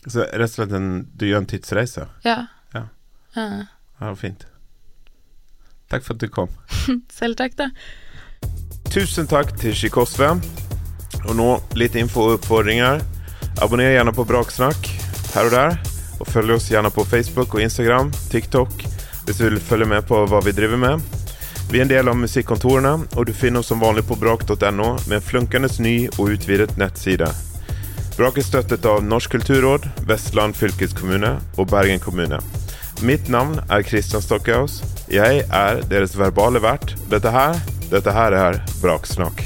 Speaker 1: Så rett og slett en Du gjør en tidsreise.
Speaker 2: Ja.
Speaker 1: Ja.
Speaker 2: Ja.
Speaker 1: Ja, fint. Takk for at du kom.
Speaker 2: Selv takk, da.
Speaker 1: Tusen takk til Shikosve. Og nå litt info og oppfordringer. Abonner gjerne på Braksnakk her og der. Og følg oss gjerne på Facebook og Instagram, TikTok, hvis du vil følge med på hva vi driver med. Vi er en del av musikkontorene, og du finner oss som vanlig på brak.no med en flunkende ny og utvidet nettside. Brak er støttet av Norsk kulturråd, Vestland fylkeskommune og Bergen kommune. Mitt navn er Christian Stockhaus. Jeg er deres verbale vert. Dette her, dette her er Braksnakk.